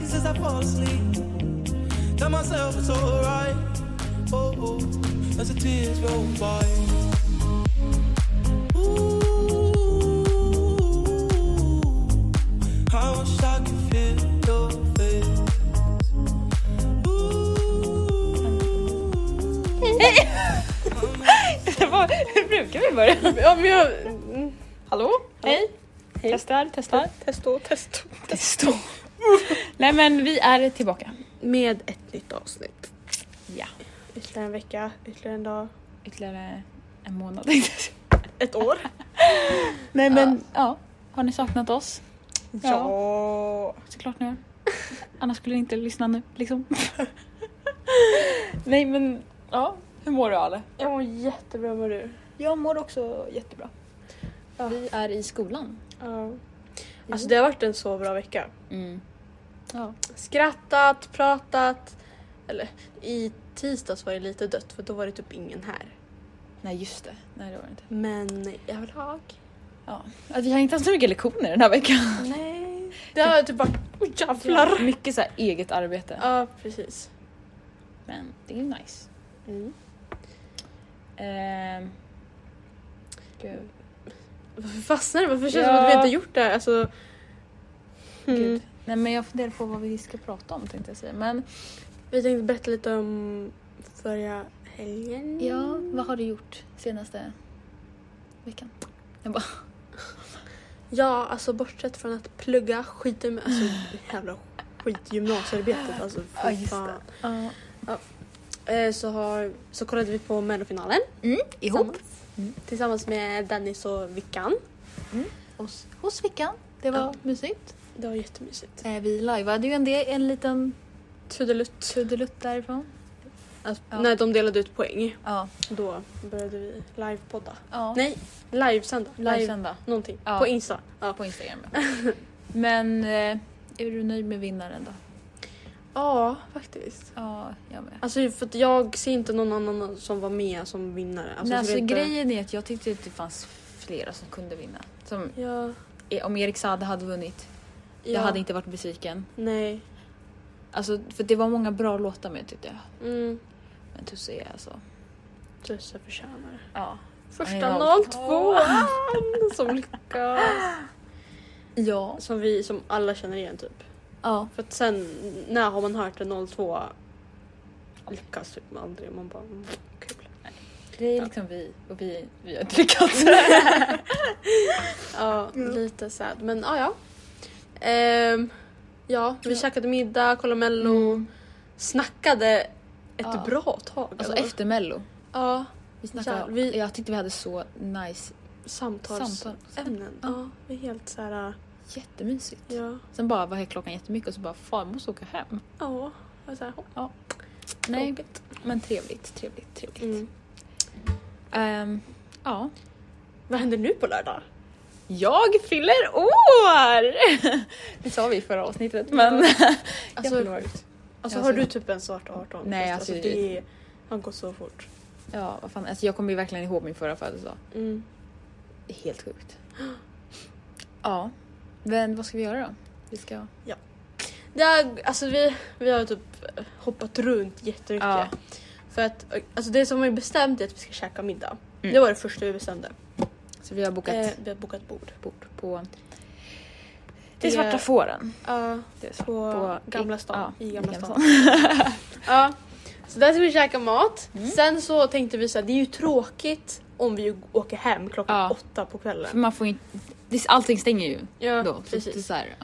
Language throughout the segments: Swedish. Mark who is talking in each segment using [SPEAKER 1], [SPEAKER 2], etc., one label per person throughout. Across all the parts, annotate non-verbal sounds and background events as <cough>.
[SPEAKER 1] as I fall asleep. Tell myself it's alright. Oh, oh, as the tears roll by. Ooh, I wish I could feel your face.
[SPEAKER 2] Hur brukar vi börja?
[SPEAKER 3] Ja, men jag... mm. Hallå?
[SPEAKER 2] Hej! Testar, testar.
[SPEAKER 3] Testo, testo.
[SPEAKER 2] <laughs> Testo. Nej men vi är tillbaka.
[SPEAKER 3] Med ett nytt avsnitt.
[SPEAKER 2] Ja.
[SPEAKER 3] Ytterligare en vecka, ytterligare en dag,
[SPEAKER 2] Ytterligare en månad tänkte jag säga.
[SPEAKER 3] ett <laughs> år. Nej men...
[SPEAKER 2] Ja. Har ni saknat oss?
[SPEAKER 3] Ja.
[SPEAKER 2] Såklart ni har. Annars skulle ni inte lyssna nu <laughs> liksom.
[SPEAKER 3] Nej men...
[SPEAKER 2] Ja. Hur mår du Ale?
[SPEAKER 3] Jag mår jättebra med du.
[SPEAKER 2] Jag mår också jättebra.
[SPEAKER 3] Ja.
[SPEAKER 2] Vi är i skolan.
[SPEAKER 3] Ja. Alltså det har varit en så bra vecka.
[SPEAKER 2] Mm. Ja.
[SPEAKER 3] Skrattat, pratat. Eller i tisdags var det lite dött för då var det typ ingen här.
[SPEAKER 2] Nej just det. Nej det var det inte.
[SPEAKER 3] Men jag vill ha.
[SPEAKER 2] Ja. Att vi har inte haft så mycket lektioner den här veckan.
[SPEAKER 3] Nej. Det har typ varit... Oj jävlar.
[SPEAKER 2] Mycket så här eget arbete.
[SPEAKER 3] Ja precis.
[SPEAKER 2] Men det är ju nice.
[SPEAKER 3] Mm.
[SPEAKER 2] Ehm. Gud.
[SPEAKER 3] Varför fastnar det? Varför känns det
[SPEAKER 2] Ja.
[SPEAKER 3] som att vi inte har gjort det här? Alltså... Mm.
[SPEAKER 2] Gud. Nej men jag funderar på vad vi ska prata om tänkte jag säga. Men
[SPEAKER 3] Vi tänkte berätta lite om förra helgen.
[SPEAKER 2] ja, vad har du gjort senaste veckan?
[SPEAKER 3] Ja, alltså bortsett från att plugga, skiten med alltså jävla skitgymnasiearbetet alltså fy
[SPEAKER 2] Ja, just
[SPEAKER 3] fan.
[SPEAKER 2] Ja.
[SPEAKER 3] Eh, Så, har, så kollade vi på mellofinalen
[SPEAKER 2] Mm, ihop.
[SPEAKER 3] tillsammans.
[SPEAKER 2] Mm.
[SPEAKER 3] Tillsammans med Dennis och Vickan.
[SPEAKER 2] Hos, hos Vickan. Det var
[SPEAKER 3] Ja.
[SPEAKER 2] mysigt.
[SPEAKER 3] Det var jättemysigt.
[SPEAKER 2] Eh, vi lajvade ju en, del, en liten
[SPEAKER 3] Tudelutt.
[SPEAKER 2] trudelutt därifrån.
[SPEAKER 3] Alltså,
[SPEAKER 2] Ja.
[SPEAKER 3] När de delade ut poäng
[SPEAKER 2] Ja.
[SPEAKER 3] då började vi livepodda.
[SPEAKER 2] ja.
[SPEAKER 3] Nej, livesända. Live,
[SPEAKER 2] Livesända
[SPEAKER 3] någonting.
[SPEAKER 2] Ja.
[SPEAKER 3] På Insta. Ja.
[SPEAKER 2] på Instagram. ja. men eh, är du nöjd med vinnaren då?
[SPEAKER 3] ja, faktiskt.
[SPEAKER 2] Ja, jag med.
[SPEAKER 3] Alltså för att jag ser inte någon annan som var med som vinnare. Alltså,
[SPEAKER 2] Nej,
[SPEAKER 3] jag
[SPEAKER 2] alltså,
[SPEAKER 3] vet inte-
[SPEAKER 2] grejen är att jag tyckte att det fanns flera som kunde vinna. Som,
[SPEAKER 3] Ja,
[SPEAKER 2] eh, om Erik Saade hade vunnit,
[SPEAKER 3] ja,
[SPEAKER 2] jag hade inte varit besviken.
[SPEAKER 3] Nej.
[SPEAKER 2] Alltså, för det var många bra låtar med tyckte jag.
[SPEAKER 3] Mm.
[SPEAKER 2] Men Tusse är alltså...
[SPEAKER 3] Tusse förtjänar det.
[SPEAKER 2] Ja.
[SPEAKER 3] Första
[SPEAKER 2] Ja.
[SPEAKER 3] 02 <laughs> som lyckas.
[SPEAKER 2] Ja.
[SPEAKER 3] Som vi, som alla känner igen typ.
[SPEAKER 2] Ja.
[SPEAKER 3] För att sen, när har man hört en 02 lyckas typ aldrig. Man bara, mm, kul.
[SPEAKER 2] Det är
[SPEAKER 3] Ja.
[SPEAKER 2] liksom vi och vi, vi har inte lyckats.
[SPEAKER 3] Ja, lite sad. Men ja, ja. Mm. Ehm, ja, Mm. vi
[SPEAKER 2] Ja.
[SPEAKER 3] käkade middag, kollade mello, snackade ett
[SPEAKER 2] Ja.
[SPEAKER 3] bra tag.
[SPEAKER 2] <laughs> Alltså
[SPEAKER 3] eller?
[SPEAKER 2] efter mello.
[SPEAKER 3] Ja,
[SPEAKER 2] Vi snackade,
[SPEAKER 3] Ja, vi-
[SPEAKER 2] Jag tyckte vi hade så nice,
[SPEAKER 3] samtalsämnen.
[SPEAKER 2] Samtal.
[SPEAKER 3] Ja, vi är helt så här...
[SPEAKER 2] jättemysigt.
[SPEAKER 3] Ja.
[SPEAKER 2] Sen bara var klockan jättemycket och så bara fan jag måste åka hem.
[SPEAKER 3] Ja. jag är Så här, hopp.
[SPEAKER 2] Nej men trevligt, trevligt, trevligt.
[SPEAKER 3] mm.
[SPEAKER 2] Ehm, ja.
[SPEAKER 3] Vad händer nu på lördag? Alltså,
[SPEAKER 2] Jag fyller år! <laughs> Det sa vi i förra avsnittet men...
[SPEAKER 3] Alltså,
[SPEAKER 2] <laughs> jag fyller år.
[SPEAKER 3] Alltså
[SPEAKER 2] Ja,
[SPEAKER 3] har
[SPEAKER 2] så-
[SPEAKER 3] du typ en svart 18?
[SPEAKER 2] Nej,
[SPEAKER 3] alltså,
[SPEAKER 2] alltså,
[SPEAKER 3] det är... har gått så fort.
[SPEAKER 2] Ja, vad fan. Alltså, jag kommer ju verkligen ihåg min förra födelsedag.
[SPEAKER 3] Mm.
[SPEAKER 2] Det är Helt sjukt. <gasps> Ja, men vad ska vi göra då? Vi ska...
[SPEAKER 3] Det är, alltså vi, vi har typ hoppat runt jättemycket.
[SPEAKER 2] Ja.
[SPEAKER 3] För att alltså, det som vi bestämt är att vi ska käka middag.
[SPEAKER 2] Mm.
[SPEAKER 3] Det var det första vi bestämde.
[SPEAKER 2] Så vi har bokat
[SPEAKER 3] Eh, vi har bokat bord.
[SPEAKER 2] bord på...
[SPEAKER 3] Det-
[SPEAKER 2] Till Svarta Fåren.
[SPEAKER 3] Ja,
[SPEAKER 2] Det är
[SPEAKER 3] på,
[SPEAKER 2] svart- i-
[SPEAKER 3] Gamla stan.
[SPEAKER 2] ja,
[SPEAKER 3] I Gamla stan. ja. Så där ska vi käka mat.
[SPEAKER 2] Mm.
[SPEAKER 3] Sen så tänkte vi så här, det är ju tråkigt om vi åker hem klockan
[SPEAKER 2] Ja.
[SPEAKER 3] åtta på
[SPEAKER 2] För
[SPEAKER 3] kvällen.
[SPEAKER 2] man får ju inte... det- Allting stänger ju
[SPEAKER 3] Ja,
[SPEAKER 2] då. Så typ det är
[SPEAKER 3] precis.
[SPEAKER 2] så här,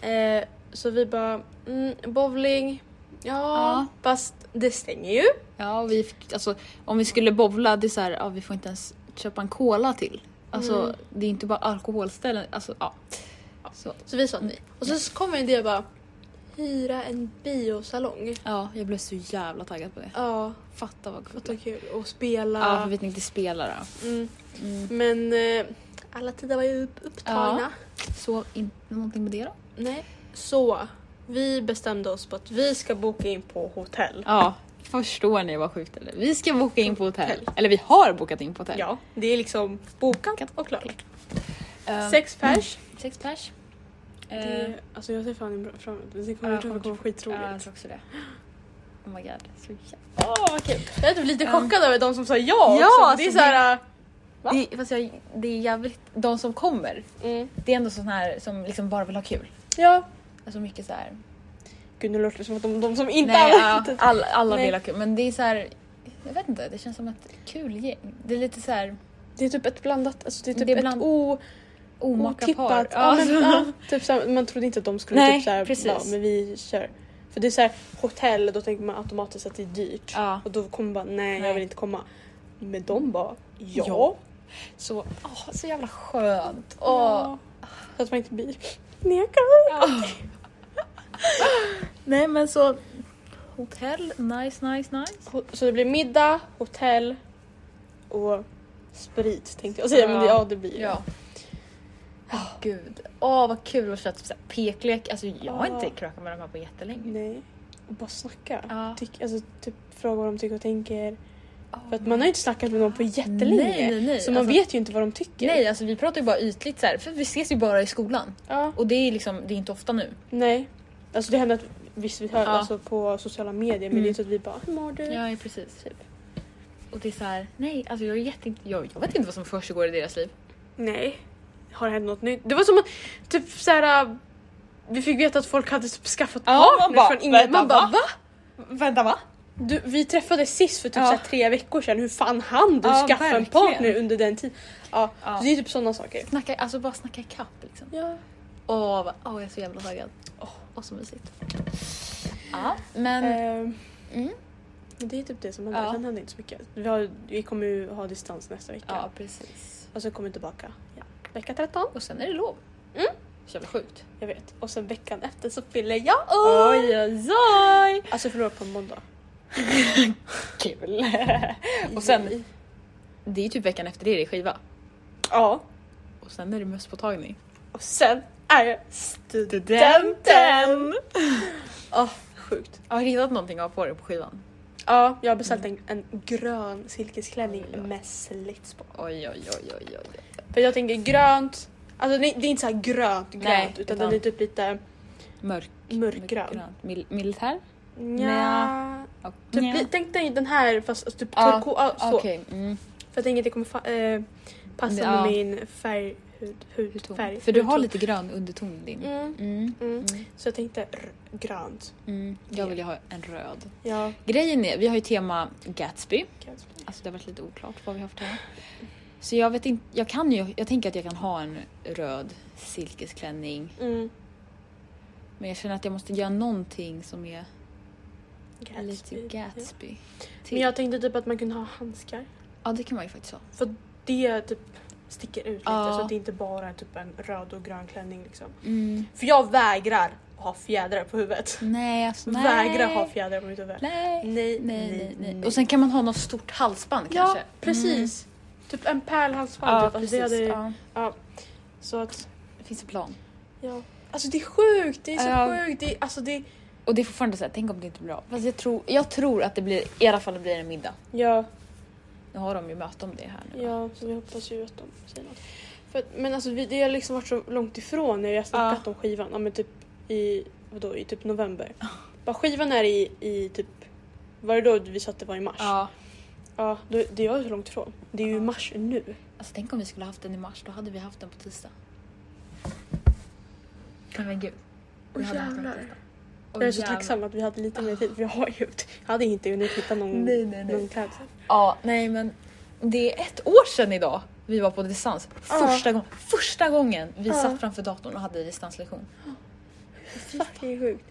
[SPEAKER 2] ja.
[SPEAKER 3] Eh, så vi bara, mm, bowling, ja,
[SPEAKER 2] Ja.
[SPEAKER 3] fast det stänger ju.
[SPEAKER 2] ja och vi fick, alltså, om vi skulle bowla, det är så här, ja, vi får inte ens köpa en cola till. Alltså
[SPEAKER 3] Mm.
[SPEAKER 2] det är inte bara alkoholställen. Alltså, ja. Så,
[SPEAKER 3] Så vi sa nej. Och
[SPEAKER 2] Mm.
[SPEAKER 3] så kom en idé och bara, hyra en biosalong.
[SPEAKER 2] ja, jag blev så jävla taggad på det.
[SPEAKER 3] Ja,
[SPEAKER 2] Fatta vad kul.
[SPEAKER 3] vad det var kul. Och spela.
[SPEAKER 2] Ja, för vi tänkte spela då.
[SPEAKER 3] mm.
[SPEAKER 2] Mm.
[SPEAKER 3] Men eh, alla tider var ju upp- upptagna.
[SPEAKER 2] Ja. Så in, någonting med det då?
[SPEAKER 3] Nej. Så vi bestämde oss på att vi ska boka in på hotell.
[SPEAKER 2] Ja, förstår ni vad sjukt det är? Vi ska boka in på hotell.
[SPEAKER 3] Hotell.
[SPEAKER 2] Eller vi har bokat in på hotell.
[SPEAKER 3] Ja, det är liksom bokat och klart.
[SPEAKER 2] Ehm,
[SPEAKER 3] Sex pers.
[SPEAKER 2] sex pers.
[SPEAKER 3] Det, alltså jag ser fan bra- fram emot det. Det
[SPEAKER 2] Eh.
[SPEAKER 3] kommer,
[SPEAKER 2] Ja,
[SPEAKER 3] jag tror det kommer
[SPEAKER 2] kommer
[SPEAKER 3] vara skitroligt.
[SPEAKER 2] Ja, jag tror också det. <gasps> Oh my god. Så jävla...
[SPEAKER 3] Åh vad kul. Jag är typ lite
[SPEAKER 2] Ja.
[SPEAKER 3] chockad över de som sa ja
[SPEAKER 2] Ja,
[SPEAKER 3] också. Det är
[SPEAKER 2] alltså
[SPEAKER 3] såhär... Va?
[SPEAKER 2] Det, fast jag, det är jävligt... De som kommer,
[SPEAKER 3] Mm.
[SPEAKER 2] det är ändå sådana här som liksom bara vill ha kul.
[SPEAKER 3] Ja.
[SPEAKER 2] Alltså mycket så här.
[SPEAKER 3] Gud nu låter det som att de, de som inte
[SPEAKER 2] Nej, ja,
[SPEAKER 3] har-
[SPEAKER 2] alla, alla
[SPEAKER 3] Nej.
[SPEAKER 2] vill ha kul. Men det är så här... Jag vet inte, det känns som ett kul gäng. Det är lite så här
[SPEAKER 3] Det är typ ett blandat, alltså det är typ
[SPEAKER 2] Det är bland-
[SPEAKER 3] ett o,
[SPEAKER 2] omaka
[SPEAKER 3] otippat.
[SPEAKER 2] par.
[SPEAKER 3] Ja,
[SPEAKER 2] Alltså.
[SPEAKER 3] men, ja, typ såhär, man trodde inte att de skulle
[SPEAKER 2] Nej,
[SPEAKER 3] typ såhär,
[SPEAKER 2] precis.
[SPEAKER 3] ja men vi kör. För det är såhär hotell, då tänker man automatiskt att det är dyrt.
[SPEAKER 2] Ja.
[SPEAKER 3] Och då kommer man bara nej, jag
[SPEAKER 2] Nej.
[SPEAKER 3] vill inte komma. Men de bara ja.
[SPEAKER 2] Ja. Så, åh, så jävla skönt. Åh.
[SPEAKER 3] Ja. Så att man inte blir nekad.
[SPEAKER 2] <laughs> Nej men så... Hotell, nice, nice, nice.
[SPEAKER 3] Ho- Så det blir middag, hotell och sprit tänkte jag säga. Men det,
[SPEAKER 2] Ja.
[SPEAKER 3] ja det blir det.
[SPEAKER 2] Ja. Åh gud. Åh vad kul att köra typ så här peklek. Alltså jag har
[SPEAKER 3] Ja.
[SPEAKER 2] inte krökat med de här på jättelänge.
[SPEAKER 3] Nej. Och bara snacka.
[SPEAKER 2] Ja.
[SPEAKER 3] Tyck, alltså, typ, fråga vad de tycker och tänker. För att man har ju inte snackat med någon på jättelänge.
[SPEAKER 2] Nej, nej, nej.
[SPEAKER 3] Så man
[SPEAKER 2] Alltså-
[SPEAKER 3] vet ju inte vad de tycker.
[SPEAKER 2] Nej alltså vi pratar ju bara ytligt så här, för vi ses ju bara i skolan.
[SPEAKER 3] Ja,
[SPEAKER 2] Och det är liksom, det är inte ofta nu.
[SPEAKER 3] nej. Alltså det händer att visst vi hör
[SPEAKER 2] Ja.
[SPEAKER 3] alltså, på sociala medier men
[SPEAKER 2] Mm.
[SPEAKER 3] det är inte att vi bara “Hur mår du?”
[SPEAKER 2] Ja precis.
[SPEAKER 3] typ.
[SPEAKER 2] Och det är så här, nej alltså jag är jätte, jag, jag vet inte vad som försiggår i deras liv.
[SPEAKER 3] Nej. Har det hänt något nytt? Det var som att typ såhär... äh, Vi fick veta att folk hade typ skaffat
[SPEAKER 2] Ja, man
[SPEAKER 3] partner
[SPEAKER 2] bara,
[SPEAKER 3] från inget.
[SPEAKER 2] "Vänta,
[SPEAKER 3] Man bara
[SPEAKER 2] va?"
[SPEAKER 3] va?
[SPEAKER 2] Vänta va?
[SPEAKER 3] Du, vi träffades sist för typ
[SPEAKER 2] Ja.
[SPEAKER 3] så här tre veckor sedan. Hur fan hann du
[SPEAKER 2] Ja,
[SPEAKER 3] skaffa en
[SPEAKER 2] verkligen.
[SPEAKER 3] partner under den tiden? Ja,
[SPEAKER 2] Ja.
[SPEAKER 3] Så det är typ sådana saker.
[SPEAKER 2] Snacka, alltså bara snacka ikapp liksom.
[SPEAKER 3] Ja.
[SPEAKER 2] Åh, vad- åh jag är så jävla taggad. Åh, åh, så mysigt. Ja, men
[SPEAKER 3] Ehm,
[SPEAKER 2] mm.
[SPEAKER 3] men det är typ det som händer.
[SPEAKER 2] Ja.
[SPEAKER 3] Sen händer inte så mycket. Vi, har, vi kommer ju ha distans nästa vecka.
[SPEAKER 2] ja precis.
[SPEAKER 3] Och sen kommer vi tillbaka ja. vecka 13.
[SPEAKER 2] Och sen är det lov.
[SPEAKER 3] Mm.
[SPEAKER 2] Så jävla sjukt.
[SPEAKER 3] Jag vet. Och sen veckan efter så fyller jag år!
[SPEAKER 2] Oj, oj, oj!
[SPEAKER 3] Alltså jag fyller år på en <laughs> måndag.
[SPEAKER 2] Kul. Och sen- Det är ju typ veckan efter det är det skiva.
[SPEAKER 3] Ja.
[SPEAKER 2] Och sen är det mösspåtagning.
[SPEAKER 3] Och sen är jag studenten! Åh, sjukt.
[SPEAKER 2] Jag har hittat någonting av på det på skivan.
[SPEAKER 3] Ja, jag har beställt en, en grön silkesklänning
[SPEAKER 2] Oj, oj.
[SPEAKER 3] med slits på.
[SPEAKER 2] Oj, oj, oj, oj, oj. oj.
[SPEAKER 3] För jag tänker grönt, alltså det det är inte så här grönt grönt
[SPEAKER 2] Nej,
[SPEAKER 3] utan,
[SPEAKER 2] utan-
[SPEAKER 3] den är typ lite
[SPEAKER 2] Mörk.
[SPEAKER 3] mörkgrön.
[SPEAKER 2] Mil- militär?
[SPEAKER 3] Nja.
[SPEAKER 2] Och,
[SPEAKER 3] Typ,
[SPEAKER 2] Nja.
[SPEAKER 3] li- Tänk dig den här fast alltså, typ
[SPEAKER 2] Ja,
[SPEAKER 3] turko, ja, så.
[SPEAKER 2] Okej. Mm.
[SPEAKER 3] För jag tänker att det kommer fa- eh, passa
[SPEAKER 2] Ja.
[SPEAKER 3] med min färg, hud,
[SPEAKER 2] Hur
[SPEAKER 3] hud,
[SPEAKER 2] ton?
[SPEAKER 3] färg.
[SPEAKER 2] För du har
[SPEAKER 3] hudton.
[SPEAKER 2] lite grön underton i din.
[SPEAKER 3] Mm,
[SPEAKER 2] Mm.
[SPEAKER 3] mm.
[SPEAKER 2] Mm.
[SPEAKER 3] Så jag tänkte r- grönt.
[SPEAKER 2] Mm. Jag vill ju ha en röd.
[SPEAKER 3] Ja.
[SPEAKER 2] Grejen är, vi har ju tema Gatsby.
[SPEAKER 3] kanske.
[SPEAKER 2] Alltså det har varit lite oklart vad vi har för tema. Så jag vet inte, jag kan ju, jag tänker att jag kan ha en röd silkesklänning.
[SPEAKER 3] Mm.
[SPEAKER 2] Men jag känner att jag måste göra någonting som är
[SPEAKER 3] Gatsby.
[SPEAKER 2] lite
[SPEAKER 3] Ja.
[SPEAKER 2] Gatsby. Till.
[SPEAKER 3] Men jag tänkte typ att man kunde ha handskar.
[SPEAKER 2] Ja det kan man ju faktiskt ha.
[SPEAKER 3] För det typ sticker ut lite
[SPEAKER 2] Ja.
[SPEAKER 3] så att det inte bara är typ en röd och grön klänning liksom.
[SPEAKER 2] Mm.
[SPEAKER 3] För jag vägrar ha fjädrar på huvudet.
[SPEAKER 2] Nej alltså nej.
[SPEAKER 3] Vägra ha fjädrar på mitt huvud.
[SPEAKER 2] Nej.
[SPEAKER 3] Nej,
[SPEAKER 2] Nej, nej, nej. Och sen kan man ha något stort halsband
[SPEAKER 3] Ja,
[SPEAKER 2] kanske. Mm.
[SPEAKER 3] precis. Typ en pärlhalsband.
[SPEAKER 2] Ja,
[SPEAKER 3] typ. Alltså,
[SPEAKER 2] precis.
[SPEAKER 3] det hade,
[SPEAKER 2] Ja.
[SPEAKER 3] Så att,
[SPEAKER 2] Det finns en plan.
[SPEAKER 3] ja. Alltså det är sjukt, det är så
[SPEAKER 2] Ja.
[SPEAKER 3] sjukt. Det är, alltså det,
[SPEAKER 2] Och det är fortfarande så här, tänk om det inte blir bra. Fast jag tror, jag tror att det blir, i alla fall det blir en middag.
[SPEAKER 3] ja,
[SPEAKER 2] Nu har de ju möte om det här nu. va?
[SPEAKER 3] ja, så vi hoppas ju att de säger något. För, att- men alltså vi, det har liksom varit så långt ifrån när vi har snackat om skivan. Ja men typ i, vadå, i
[SPEAKER 2] <laughs>
[SPEAKER 3] typ november. Bara skivan är i, i typ, var det då vi sa att det var i mars?
[SPEAKER 2] ja.
[SPEAKER 3] Ja, då, det är ju så långt ifrån. Det är ju i mars nu.
[SPEAKER 2] Alltså tänk om vi skulle haft den i mars, då hade vi haft den på tisdag. Nej men gud. Vi
[SPEAKER 3] Åh,
[SPEAKER 2] hade haft den på
[SPEAKER 3] jävlar.
[SPEAKER 2] tisdag. Åh,
[SPEAKER 3] Jag är så
[SPEAKER 2] jävlar.
[SPEAKER 3] tacksam att vi hade lite mer tid för jag har ju jag hade inte hunnit hitta någon,
[SPEAKER 2] Nej, nej, nej.
[SPEAKER 3] någon klädsel.
[SPEAKER 2] Ja, nej men det är ett år sedan idag vi var på distans.
[SPEAKER 3] Ja.
[SPEAKER 2] Första, gång, första gången vi
[SPEAKER 3] Ja.
[SPEAKER 2] satt framför datorn och hade distanslektion.
[SPEAKER 3] Fucking sjukt.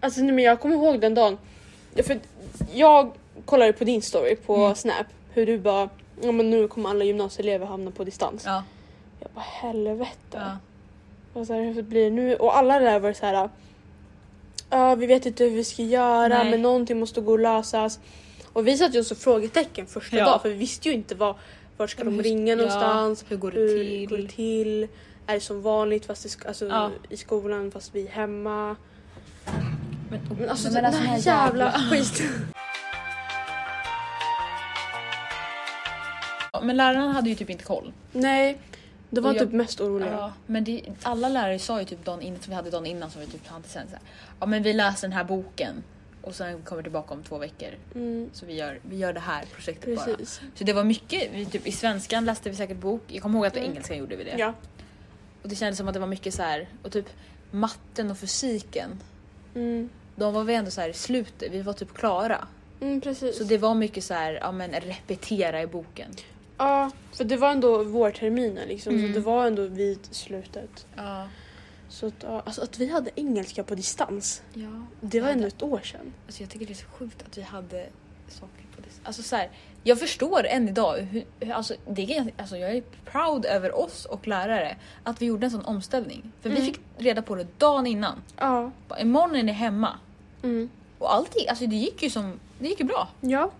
[SPEAKER 3] Alltså nej, men jag kommer ihåg den dagen. Ja, För jag kollade på din story på
[SPEAKER 2] Mm.
[SPEAKER 3] Snap hur du bara ja, men nu kommer alla gymnasieelever hamna på distans.
[SPEAKER 2] Ja,
[SPEAKER 3] Jag bara helvete.
[SPEAKER 2] ja.
[SPEAKER 3] Och så här, hur blir det nu? Och alla där var så här. Ja, vi vet inte hur vi ska göra
[SPEAKER 2] Nej.
[SPEAKER 3] men någonting måste gå och lösas. Och vi satt ju också frågetecken första
[SPEAKER 2] Ja.
[SPEAKER 3] dagen för vi visste ju inte vad, vart ska de
[SPEAKER 2] Hur-
[SPEAKER 3] ringa
[SPEAKER 2] ja,
[SPEAKER 3] någonstans?
[SPEAKER 2] hur går det till?
[SPEAKER 3] går det till? Är det som vanligt fast i, sk- alltså,
[SPEAKER 2] Ja.
[SPEAKER 3] i skolan fast vi är hemma?
[SPEAKER 2] Men,
[SPEAKER 3] Men alltså
[SPEAKER 2] men
[SPEAKER 3] den här jävla, <laughs> skit.
[SPEAKER 2] Men läraren hade ju typ inte koll.
[SPEAKER 3] Nej. Det var
[SPEAKER 2] Och jag-
[SPEAKER 3] typ mest oroliga.
[SPEAKER 2] Ja, men det, alla lärare sa ju typ dagen innan, som vi hade dagen innan som vi typ hade sen så här, ja men vi läser den här boken och sen kommer tillbaka om två veckor.
[SPEAKER 3] Mm,
[SPEAKER 2] Så vi gör, vi gör det här projektet bara.
[SPEAKER 3] precis.
[SPEAKER 2] Så det var mycket, vi typ, i svenskan läste vi säkert bok, jag kommer ihåg att i
[SPEAKER 3] Mm.
[SPEAKER 2] engelskan gjorde vi det.
[SPEAKER 3] Ja.
[SPEAKER 2] Och det kändes som att det var mycket så här, och typ matten och fysiken,
[SPEAKER 3] Mm,
[SPEAKER 2] de var vi ändå så här i slutet, vi var typ klara.
[SPEAKER 3] mm, precis.
[SPEAKER 2] Så det var mycket så här, ja men repetera i boken.
[SPEAKER 3] Ja, för det var ändå vårterminen liksom.
[SPEAKER 2] Mm.
[SPEAKER 3] Så det var ändå vid slutet.
[SPEAKER 2] Ja.
[SPEAKER 3] Så att, ja, alltså att vi hade engelska på distans,
[SPEAKER 2] ja.
[SPEAKER 3] det var
[SPEAKER 2] Ja,
[SPEAKER 3] ändå
[SPEAKER 2] det-
[SPEAKER 3] ett år sedan.
[SPEAKER 2] Alltså jag tycker det är så sjukt att vi hade saker på det Alltså så här, jag förstår än idag, hur, hur, alltså, det är, ganska- alltså jag är proud över oss och lärare att vi gjorde en sån omställning. För vi
[SPEAKER 3] Mm.
[SPEAKER 2] fick reda på det dagen innan.
[SPEAKER 3] Ja.
[SPEAKER 2] Bara, Imorgon är ni hemma.
[SPEAKER 3] Mm.
[SPEAKER 2] Och allting, alltså det gick ju som, det gick ju bra.
[SPEAKER 3] Ja.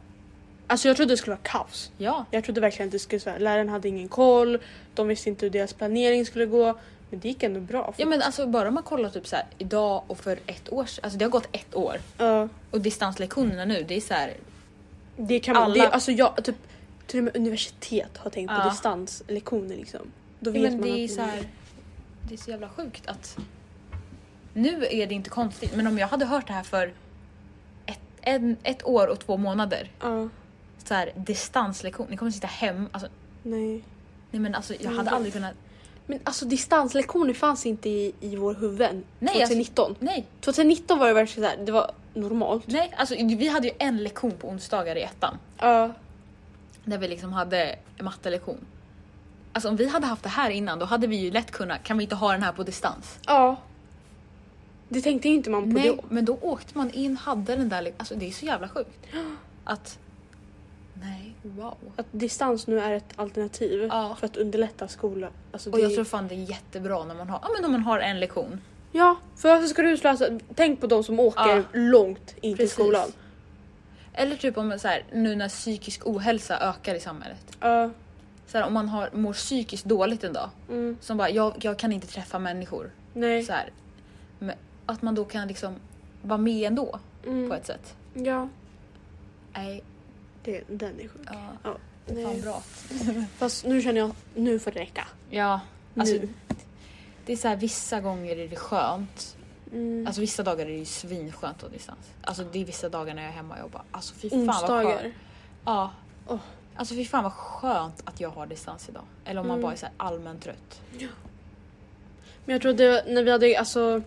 [SPEAKER 3] Alltså jag trodde det skulle vara kaos.
[SPEAKER 2] Ja.
[SPEAKER 3] Jag trodde verkligen att det skulle vara läraren hade ingen koll, de visste inte hur deras planering skulle gå. Men det gick ändå bra.
[SPEAKER 2] Ja men alltså bara om man kollar typ så här idag och för ett år sedan, alltså det har gått ett år.
[SPEAKER 3] Ja.
[SPEAKER 2] Och distanslektionerna nu, det är så här,
[SPEAKER 3] Det kan man,
[SPEAKER 2] Alla-
[SPEAKER 3] det, alltså jag, typ, till och med universitet har tänkt
[SPEAKER 2] Ja.
[SPEAKER 3] på distanslektioner liksom. Då
[SPEAKER 2] Ja,
[SPEAKER 3] vet
[SPEAKER 2] men
[SPEAKER 3] man
[SPEAKER 2] det är
[SPEAKER 3] att
[SPEAKER 2] så här, Det är så jävla sjukt att... Nu är det inte konstigt, men om jag hade hört det här för ett, en, ett år och två månader.
[SPEAKER 3] Ja,
[SPEAKER 2] Så här, distanslektion, ni kommer sitta hem. Alltså,
[SPEAKER 3] nej.
[SPEAKER 2] nej men alltså jag
[SPEAKER 3] Mm.
[SPEAKER 2] hade aldrig kunnat...
[SPEAKER 3] Men alltså distanslektioner fanns inte i, i vår huvuden
[SPEAKER 2] Nej,
[SPEAKER 3] 2019.
[SPEAKER 2] Nej,
[SPEAKER 3] 2019 var det verkligen så här, det var normalt.
[SPEAKER 2] nej. Alltså vi hade ju en lektion på onsdagar i ettan.
[SPEAKER 3] Ja.
[SPEAKER 2] Där vi liksom hade en mattelektion. Alltså om vi hade haft det här innan då hade vi ju lätt kunnat, kan vi inte ha den här på distans?
[SPEAKER 3] Ja. Det tänkte ju inte man på
[SPEAKER 2] Nej,
[SPEAKER 3] då.
[SPEAKER 2] men då åkte man in, hade den där... Alltså det är så jävla
[SPEAKER 3] <gasps>
[SPEAKER 2] sjukt. Att... Nej, wow.
[SPEAKER 3] Att distans nu är ett alternativ
[SPEAKER 2] Ja.
[SPEAKER 3] för att underlätta skola. Alltså
[SPEAKER 2] Och
[SPEAKER 3] det-
[SPEAKER 2] jag tror fan det är jättebra när man har, ja, men om man har en lektion.
[SPEAKER 3] Ja, för varför ska du slösa? Tänk på de som åker
[SPEAKER 2] Ja.
[SPEAKER 3] långt in till
[SPEAKER 2] Precis.
[SPEAKER 3] skolan.
[SPEAKER 2] Eller typ om så här, nu när psykisk ohälsa ökar i samhället.
[SPEAKER 3] Ja.
[SPEAKER 2] Så här, om man har, mår psykiskt dåligt en dag.
[SPEAKER 3] Mm.
[SPEAKER 2] Som bara, jag, jag kan inte träffa människor.
[SPEAKER 3] Nej.
[SPEAKER 2] Så här. Men, att man då kan liksom vara med ändå på
[SPEAKER 3] Mm.
[SPEAKER 2] ett sätt.
[SPEAKER 3] Ja.
[SPEAKER 2] Nej,
[SPEAKER 3] Det, den är sjuk.
[SPEAKER 2] ja,
[SPEAKER 3] Ja.
[SPEAKER 2] fan
[SPEAKER 3] Nej.
[SPEAKER 2] bra.
[SPEAKER 3] Fast nu känner jag att nu får det räcka.
[SPEAKER 2] Ja,
[SPEAKER 3] Nu.
[SPEAKER 2] alltså, det är så här, vissa gånger är det skönt.
[SPEAKER 3] Mm.
[SPEAKER 2] Alltså vissa dagar är det ju svinskönt på distans. Alltså det är vissa dagar när jag är hemma och jag bara, alltså fy fan vad skönt.
[SPEAKER 3] Onsdagar.
[SPEAKER 2] Ja.
[SPEAKER 3] Åh.
[SPEAKER 2] Alltså fy fan vad skönt att jag har distans idag. Eller om man
[SPEAKER 3] Mm.
[SPEAKER 2] bara är så här allmänt trött.
[SPEAKER 3] Men jag tror det, när vi hade alltså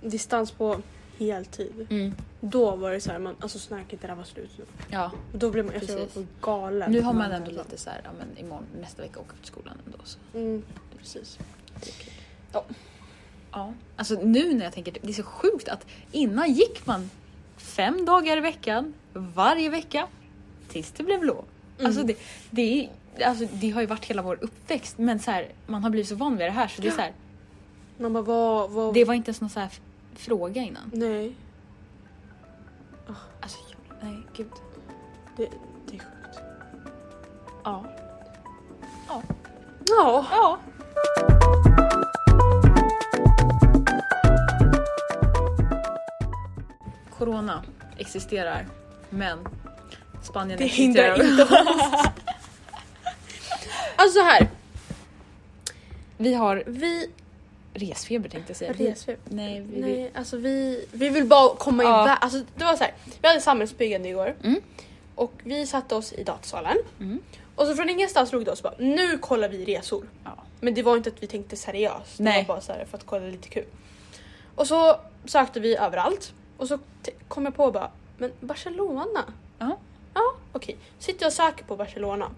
[SPEAKER 3] distans på heltid. Då var det så här, man, alltså snark inte det här var slut nu.
[SPEAKER 2] Mm. Ja,
[SPEAKER 3] Och då blev man alltså, jag
[SPEAKER 2] Precis.
[SPEAKER 3] var galen.
[SPEAKER 2] nu har man ändå lite så här, ja men imorgon, nästa vecka åker jag till skolan ändå. Så.
[SPEAKER 3] Mm, precis.
[SPEAKER 2] Ja. Alltså nu när jag tänker, det är så sjukt att innan gick man fem dagar i veckan, varje vecka, tills det blev lov. Alltså, det, det, är, alltså det har ju varit hela vår uppväxt men så här, man har blivit så van vid det här så det är så här,
[SPEAKER 3] Man bara vad, vad...
[SPEAKER 2] det var inte ens någon så här f- fråga innan.
[SPEAKER 3] Nej.
[SPEAKER 2] Alltså jag, nej gud.
[SPEAKER 3] Det, det är sjukt.
[SPEAKER 2] Ja.
[SPEAKER 3] Ja.
[SPEAKER 2] Ja. Corona existerar, men Spanien
[SPEAKER 3] Det
[SPEAKER 2] existerar. <laughs>
[SPEAKER 3] hindrar inte oss. Alltså så här.
[SPEAKER 2] Vi har
[SPEAKER 3] Vi...
[SPEAKER 2] resfeber tänkte jag säga.
[SPEAKER 3] Resfeber.
[SPEAKER 2] Nej, vi,
[SPEAKER 3] Nej, alltså vi... Vi vill bara komma in
[SPEAKER 2] Ja.
[SPEAKER 3] där. Alltså det var så här. Vi hade samhällsbyggande igår.
[SPEAKER 2] Mm.
[SPEAKER 3] Och vi satte oss i datasalen.
[SPEAKER 2] Mm.
[SPEAKER 3] Och så från ingenstans slog det oss bara, nu kollar vi resor.
[SPEAKER 2] Ja.
[SPEAKER 3] Men det var inte att vi tänkte seriöst. Det
[SPEAKER 2] Nej.
[SPEAKER 3] var bara så här för att kolla lite kul. Och så sökte vi överallt. Och så t- kom jag på bara, men Barcelona?
[SPEAKER 2] Ja.
[SPEAKER 3] Ja, okej. Sitter jag och söker på Barcelona.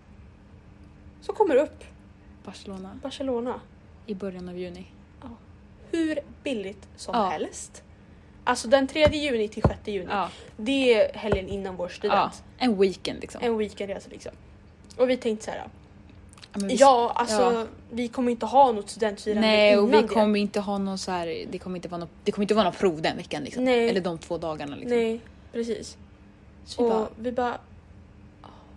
[SPEAKER 3] Så kommer det upp
[SPEAKER 2] Barcelona
[SPEAKER 3] Barcelona.
[SPEAKER 2] i början av juni.
[SPEAKER 3] Hur billigt som
[SPEAKER 2] Ja.
[SPEAKER 3] helst. Alltså den 3 juni till 6 juni.
[SPEAKER 2] Ja.
[SPEAKER 3] Det är helgen innan vår
[SPEAKER 2] ja.
[SPEAKER 3] student.
[SPEAKER 2] En weekend liksom.
[SPEAKER 3] En weekendresa liksom. Och vi tänkte så här,
[SPEAKER 2] Mm. Ja, men vi-
[SPEAKER 3] ja alltså
[SPEAKER 2] Ja.
[SPEAKER 3] vi kommer inte ha något studentfirande
[SPEAKER 2] Nej och vi
[SPEAKER 3] innan det.
[SPEAKER 2] kommer inte ha någon så här, det kommer inte vara något, det kommer inte vara något prov den veckan liksom.
[SPEAKER 3] Nej.
[SPEAKER 2] Eller de två dagarna liksom.
[SPEAKER 3] Nej, precis.
[SPEAKER 2] Så vi
[SPEAKER 3] Och
[SPEAKER 2] bara,
[SPEAKER 3] vi bara,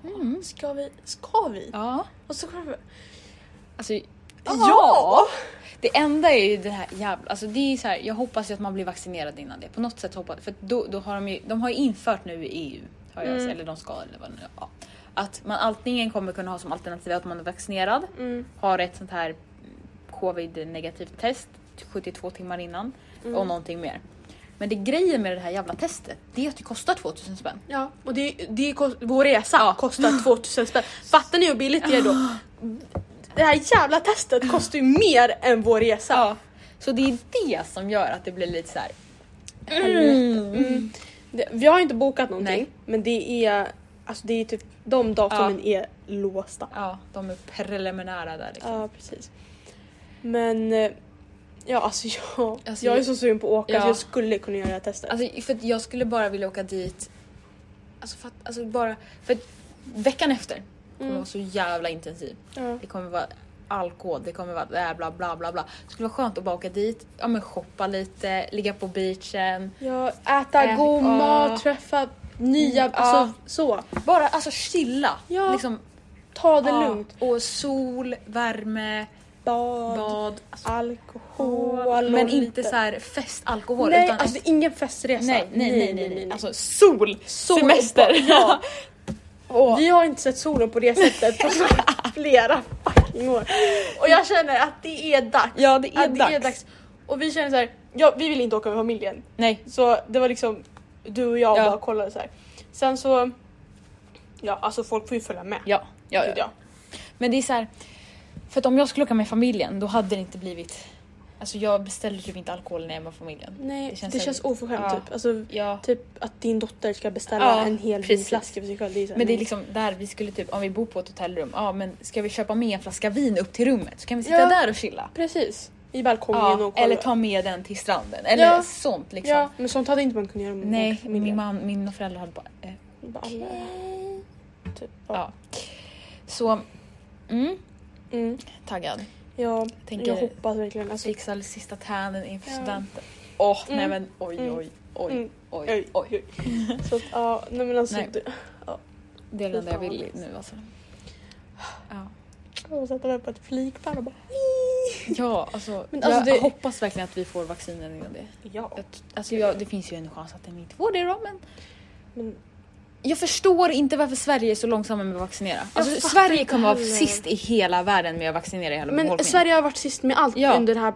[SPEAKER 2] mm.
[SPEAKER 3] ska vi? Ska vi?
[SPEAKER 2] Ja.
[SPEAKER 3] Och så kommer vi,
[SPEAKER 2] Alltså,
[SPEAKER 3] Ja!
[SPEAKER 2] Det enda är ju det här jävla... Alltså det är så här, jag hoppas ju att man blir vaccinerad innan det. På något sätt hoppas För då, då har de ju... De har ju infört nu i EU. Har jag,
[SPEAKER 3] Mm.
[SPEAKER 2] Eller de ska eller vad det nu ja, Att man antingen kommer kunna ha som alternativ att man är vaccinerad,
[SPEAKER 3] Mm.
[SPEAKER 2] har ett sånt här covid-negativt test 72 timmar innan
[SPEAKER 3] Mm.
[SPEAKER 2] och någonting mer. Men det grejen med det här jävla testet, det är att det kostar 2000 spänn.
[SPEAKER 3] Ja, och det, det kost, vår resa kostar 2000 spänn. Fattar ni hur billigt det är då? Det här jävla testet kostar ju mer än vår resa.
[SPEAKER 2] Ja. Så det är det som gör att det blir lite så här.
[SPEAKER 3] Mm. Det, vi har inte bokat någonting,
[SPEAKER 2] Nej.
[SPEAKER 3] men det är, alltså det är typ, de datumen är låsta.
[SPEAKER 2] Ja, de är preliminära där liksom.
[SPEAKER 3] Ja, precis. Men eh, ja, alltså <laughs> jag,
[SPEAKER 2] Alltså,
[SPEAKER 3] jag är
[SPEAKER 2] jag-
[SPEAKER 3] så sugen på att åka
[SPEAKER 2] Ja.
[SPEAKER 3] så jag skulle kunna göra det här testet.
[SPEAKER 2] Alltså, för att jag skulle bara vilja åka dit, alltså, för att, alltså bara, för att veckan efter kommer
[SPEAKER 3] Mm.
[SPEAKER 2] vara så jävla intensiv.
[SPEAKER 3] ja.
[SPEAKER 2] Det kommer vara alkohol, det kommer vara äh, bla bla bla bla. Det skulle vara skönt att bara åka dit, ja men shoppa lite, ligga på beachen.
[SPEAKER 3] Ja, äta
[SPEAKER 2] Ä-
[SPEAKER 3] god
[SPEAKER 2] ja.
[SPEAKER 3] mat, träffa nya,
[SPEAKER 2] Mm,
[SPEAKER 3] alltså
[SPEAKER 2] ja.
[SPEAKER 3] så.
[SPEAKER 2] Bara alltså chilla.
[SPEAKER 3] Ja.
[SPEAKER 2] Liksom,
[SPEAKER 3] Ta det
[SPEAKER 2] ja.
[SPEAKER 3] lugnt.
[SPEAKER 2] Och sol, värme,
[SPEAKER 3] Bad,
[SPEAKER 2] bad. Alltså,
[SPEAKER 3] alkohol.
[SPEAKER 2] men
[SPEAKER 3] och
[SPEAKER 2] inte
[SPEAKER 3] lite-
[SPEAKER 2] så här festalkohol.
[SPEAKER 3] Nej,
[SPEAKER 2] utan
[SPEAKER 3] alltså det är ingen festresa.
[SPEAKER 2] nej, nej, nej, nej, nej.
[SPEAKER 3] Alltså,
[SPEAKER 2] Alltså sol,
[SPEAKER 3] Sol och
[SPEAKER 2] semester.
[SPEAKER 3] bad, <laughs> ja.
[SPEAKER 2] Åh.
[SPEAKER 3] Vi har inte sett solen på det sättet på <laughs> så flera fucking år. Och jag känner att det är dags.
[SPEAKER 2] Ja, det är
[SPEAKER 3] att
[SPEAKER 2] dags.
[SPEAKER 3] det är dags. Och vi känner så här, ja, vi vill inte åka med familjen.
[SPEAKER 2] Nej.
[SPEAKER 3] Så det var liksom du och jag
[SPEAKER 2] Ja.
[SPEAKER 3] bara kollade så här. Sen så, ja alltså folk får ju följa med.
[SPEAKER 2] Ja, ja, ja.
[SPEAKER 3] Gud, ja.
[SPEAKER 2] Men det är så här, för att om jag skulle åka med familjen då hade det inte blivit, alltså jag beställer typ inte alkohol när jag är med familjen.
[SPEAKER 3] Nej, det
[SPEAKER 2] Det känns
[SPEAKER 3] känns,
[SPEAKER 2] så här-
[SPEAKER 3] oförskämt
[SPEAKER 2] Ja.
[SPEAKER 3] typ. Alltså,
[SPEAKER 2] Ja.
[SPEAKER 3] typ att din dotter ska beställa
[SPEAKER 2] Ja,
[SPEAKER 3] en hel
[SPEAKER 2] precis.
[SPEAKER 3] vinflaska för sig själv. Det är så här,
[SPEAKER 2] Men det är
[SPEAKER 3] nej.
[SPEAKER 2] liksom där vi skulle typ, om vi bor på ett hotellrum, ja men ska vi köpa med en flaska vin upp till rummet så kan vi sitta
[SPEAKER 3] Ja.
[SPEAKER 2] där och chilla.
[SPEAKER 3] Precis. I balkongen
[SPEAKER 2] Ja,
[SPEAKER 3] och kolla.
[SPEAKER 2] eller ta med den till stranden eller
[SPEAKER 3] Ja. Mm,
[SPEAKER 2] sånt liksom.
[SPEAKER 3] Ja, men sånt hade inte man kunnat göra med
[SPEAKER 2] Nej, min,
[SPEAKER 3] familjen.
[SPEAKER 2] man, min föräldrar hade bara... Eh,
[SPEAKER 3] Bara, alla- Typ. Ja.
[SPEAKER 2] ja. Så, mm,
[SPEAKER 3] Mm.
[SPEAKER 2] taggad.
[SPEAKER 3] Ja,
[SPEAKER 2] Tänker-
[SPEAKER 3] jag hoppas verkligen. Alltså,
[SPEAKER 2] <laughs> Fixar sista tänen inför
[SPEAKER 3] Ja.
[SPEAKER 2] studenten. Åh,
[SPEAKER 3] Mm.
[SPEAKER 2] nej men oj,
[SPEAKER 3] Mm.
[SPEAKER 2] oj, oj,
[SPEAKER 3] Mm.
[SPEAKER 2] oj,
[SPEAKER 3] Oj,
[SPEAKER 2] oj.
[SPEAKER 3] så att, ja, nej men alltså.
[SPEAKER 2] Nej.
[SPEAKER 3] Du, <laughs>
[SPEAKER 2] Det är det
[SPEAKER 3] Fy
[SPEAKER 2] enda jag
[SPEAKER 3] fan,
[SPEAKER 2] vill
[SPEAKER 3] alltså.
[SPEAKER 2] nu alltså. Ja,
[SPEAKER 3] jag sätter mig på ett flygplan och bara.
[SPEAKER 2] ja alltså,
[SPEAKER 3] Men alltså,
[SPEAKER 2] jag
[SPEAKER 3] det-
[SPEAKER 2] hoppas verkligen att vi får vaccinen innan det.
[SPEAKER 3] Ja.
[SPEAKER 2] Jag, alltså jag, det finns ju en chans att de inte får det då men
[SPEAKER 3] Men,
[SPEAKER 2] jag förstår inte varför Sverige är så långsamma med att vaccinera. Alltså,
[SPEAKER 3] fattar
[SPEAKER 2] Sverige
[SPEAKER 3] inte
[SPEAKER 2] kommer vara
[SPEAKER 3] heller.
[SPEAKER 2] sist i hela världen med att vaccinera hela
[SPEAKER 3] men
[SPEAKER 2] befolkningen.
[SPEAKER 3] Sverige har varit sist med allt
[SPEAKER 2] Ja.
[SPEAKER 3] under den här.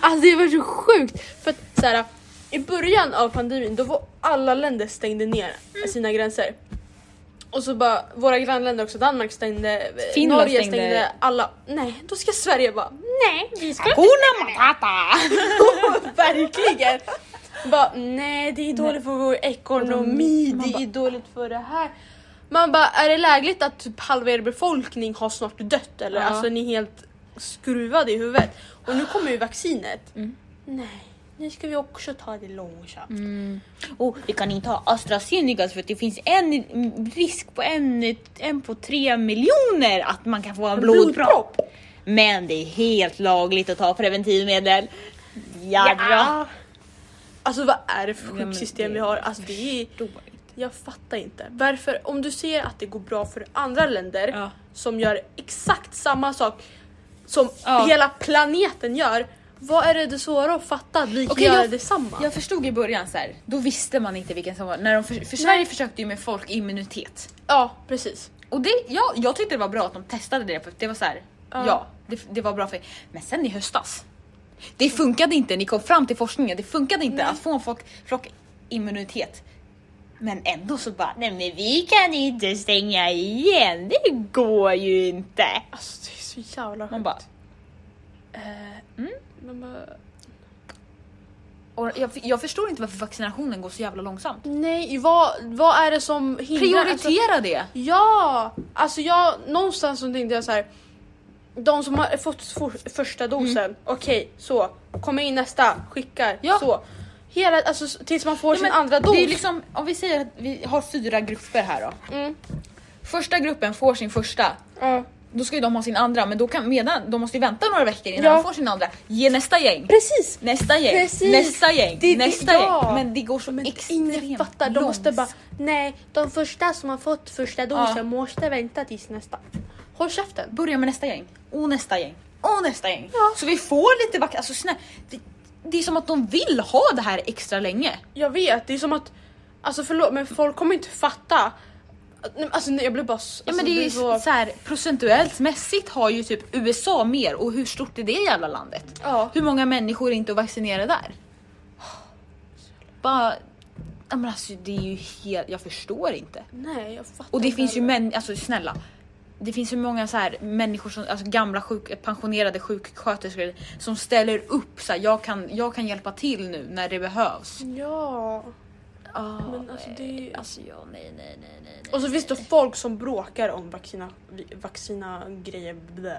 [SPEAKER 3] Alltså det var så sjukt. För att så här, i början av pandemin då var alla länder stängde ner
[SPEAKER 2] Mm.
[SPEAKER 3] sina gränser. Och så bara våra grannländer också, Danmark stängde,
[SPEAKER 2] Finland
[SPEAKER 3] Norge
[SPEAKER 2] stängde-
[SPEAKER 3] stängde, alla. Nej, då ska Sverige bara nej, vi ska
[SPEAKER 2] Hakuna Matata!
[SPEAKER 3] Verkligen! Bara, nej det är dåligt för vår
[SPEAKER 2] Mm.
[SPEAKER 3] ekonomi, det är dåligt för det här. Man bara, är det lägligt att typ halva er befolkning har snart dött eller?
[SPEAKER 2] Ja.
[SPEAKER 3] Alltså ni är helt skruvade i huvudet. Och nu kommer ju vaccinet.
[SPEAKER 2] Mm.
[SPEAKER 3] Nej, nu ska vi också ta det långsamt.
[SPEAKER 2] Oh, vi kan inte ha AstraZeneca för att det finns en mm, risk på en, en på tre miljoner att man kan få en blodpropp. Men det är helt lagligt att ta preventivmedel. Jadå!
[SPEAKER 3] Alltså vad är det för
[SPEAKER 2] Ja, men
[SPEAKER 3] sjuksystem
[SPEAKER 2] det-
[SPEAKER 3] vi har? Alltså det är...
[SPEAKER 2] Ja.
[SPEAKER 3] Jag fattar inte. Varför, om du ser att det går bra för andra länder
[SPEAKER 2] Ja.
[SPEAKER 3] som gör exakt samma sak som
[SPEAKER 2] Ja.
[SPEAKER 3] hela planeten gör, vad är det, det svåra att fatta att vi kan
[SPEAKER 2] Okej,
[SPEAKER 3] göra
[SPEAKER 2] jag-
[SPEAKER 3] detsamma?
[SPEAKER 2] Jag förstod i början så här, då visste man inte vilken som var, när de för, för Sverige försökte ju med folkimmunitet.
[SPEAKER 3] Ja, precis.
[SPEAKER 2] Och det, ja, jag tyckte det var bra att de testade det för att det var så här,
[SPEAKER 3] Ja.
[SPEAKER 2] ja, det, det var bra för Men sen i höstas, det funkade inte, ni kom fram till forskningen, det funkade inte
[SPEAKER 3] Nej.
[SPEAKER 2] att få en folk, flockimmunitet. Men ändå så bara, nej men vi kan inte stänga igen, det går ju inte.
[SPEAKER 3] Alltså det är så jävla
[SPEAKER 2] Man
[SPEAKER 3] sjukt. Eh,
[SPEAKER 2] bara, mm?
[SPEAKER 3] Man bara,
[SPEAKER 2] och jag, jag förstår inte varför vaccinationen går så jävla långsamt.
[SPEAKER 3] nej, vad, vad är det som hindrar? alltså-
[SPEAKER 2] Prioritera det!
[SPEAKER 3] Ja! Alltså jag, någonstans så tänkte jag så här. De som har fått for, första
[SPEAKER 2] Mm.
[SPEAKER 3] dosen, okej så, kommer in nästa, skickar,
[SPEAKER 2] Ja.
[SPEAKER 3] så. Hela, alltså s- tills man får
[SPEAKER 2] Ja,
[SPEAKER 3] sin
[SPEAKER 2] men
[SPEAKER 3] andra dos.
[SPEAKER 2] Det är liksom, om vi säger att vi har fyra grupper här då.
[SPEAKER 3] Mm.
[SPEAKER 2] Första gruppen får sin första,
[SPEAKER 3] Ja.
[SPEAKER 2] då ska ju de ha sin andra men då kan, medan, de måste ju vänta några veckor innan de
[SPEAKER 3] Ja.
[SPEAKER 2] får sin andra. Ge nästa gäng,
[SPEAKER 3] Precis!
[SPEAKER 2] nästa gäng,
[SPEAKER 3] Precis.
[SPEAKER 2] nästa gäng,
[SPEAKER 3] Det- det-
[SPEAKER 2] nästa
[SPEAKER 3] ja.
[SPEAKER 2] gäng. Men det går så
[SPEAKER 3] Men
[SPEAKER 2] extremt
[SPEAKER 3] ingen fattar, de måste bara
[SPEAKER 2] långsamt.
[SPEAKER 3] nej, de första som har fått första dosen
[SPEAKER 2] Ja.
[SPEAKER 3] måste vänta tills nästa. Håll käften!
[SPEAKER 2] Börja med nästa gäng, och nästa gäng, och nästa gäng.
[SPEAKER 3] Ja.
[SPEAKER 2] Så vi får lite vackert, alltså snä, det, det är som att de vill ha det här extra länge.
[SPEAKER 3] Jag vet, det är som att Alltså förlåt men folk kommer inte fatta. Nej, Alltså nej, jag blev bara... s-
[SPEAKER 2] Ja men
[SPEAKER 3] alltså,
[SPEAKER 2] det är
[SPEAKER 3] blir
[SPEAKER 2] ju
[SPEAKER 3] så-
[SPEAKER 2] så... här, procentuellt mässigt har ju typ USA mer och hur stort är det jävla landet?
[SPEAKER 3] Ja.
[SPEAKER 2] Hur många människor är inte vaccinerade där? Bara, ja, men alltså det är ju helt, jag förstår inte.
[SPEAKER 3] Nej jag fattar
[SPEAKER 2] Och det
[SPEAKER 3] inte
[SPEAKER 2] finns ju
[SPEAKER 3] heller.
[SPEAKER 2] män, alltså snälla. Det finns ju många så här människor som, alltså gamla sjuk, pensionerade sjuksköterskor som ställer upp så här, jag kan, jag kan hjälpa till nu när det
[SPEAKER 3] Mm.
[SPEAKER 2] behövs.
[SPEAKER 3] Ja.
[SPEAKER 2] Ah,
[SPEAKER 3] Men alltså, det är ju-
[SPEAKER 2] alltså ja, nej, nej, nej, nej, nej.
[SPEAKER 3] Och så finns det folk som bråkar om vaccina, vi- vaccina grejer. Blä.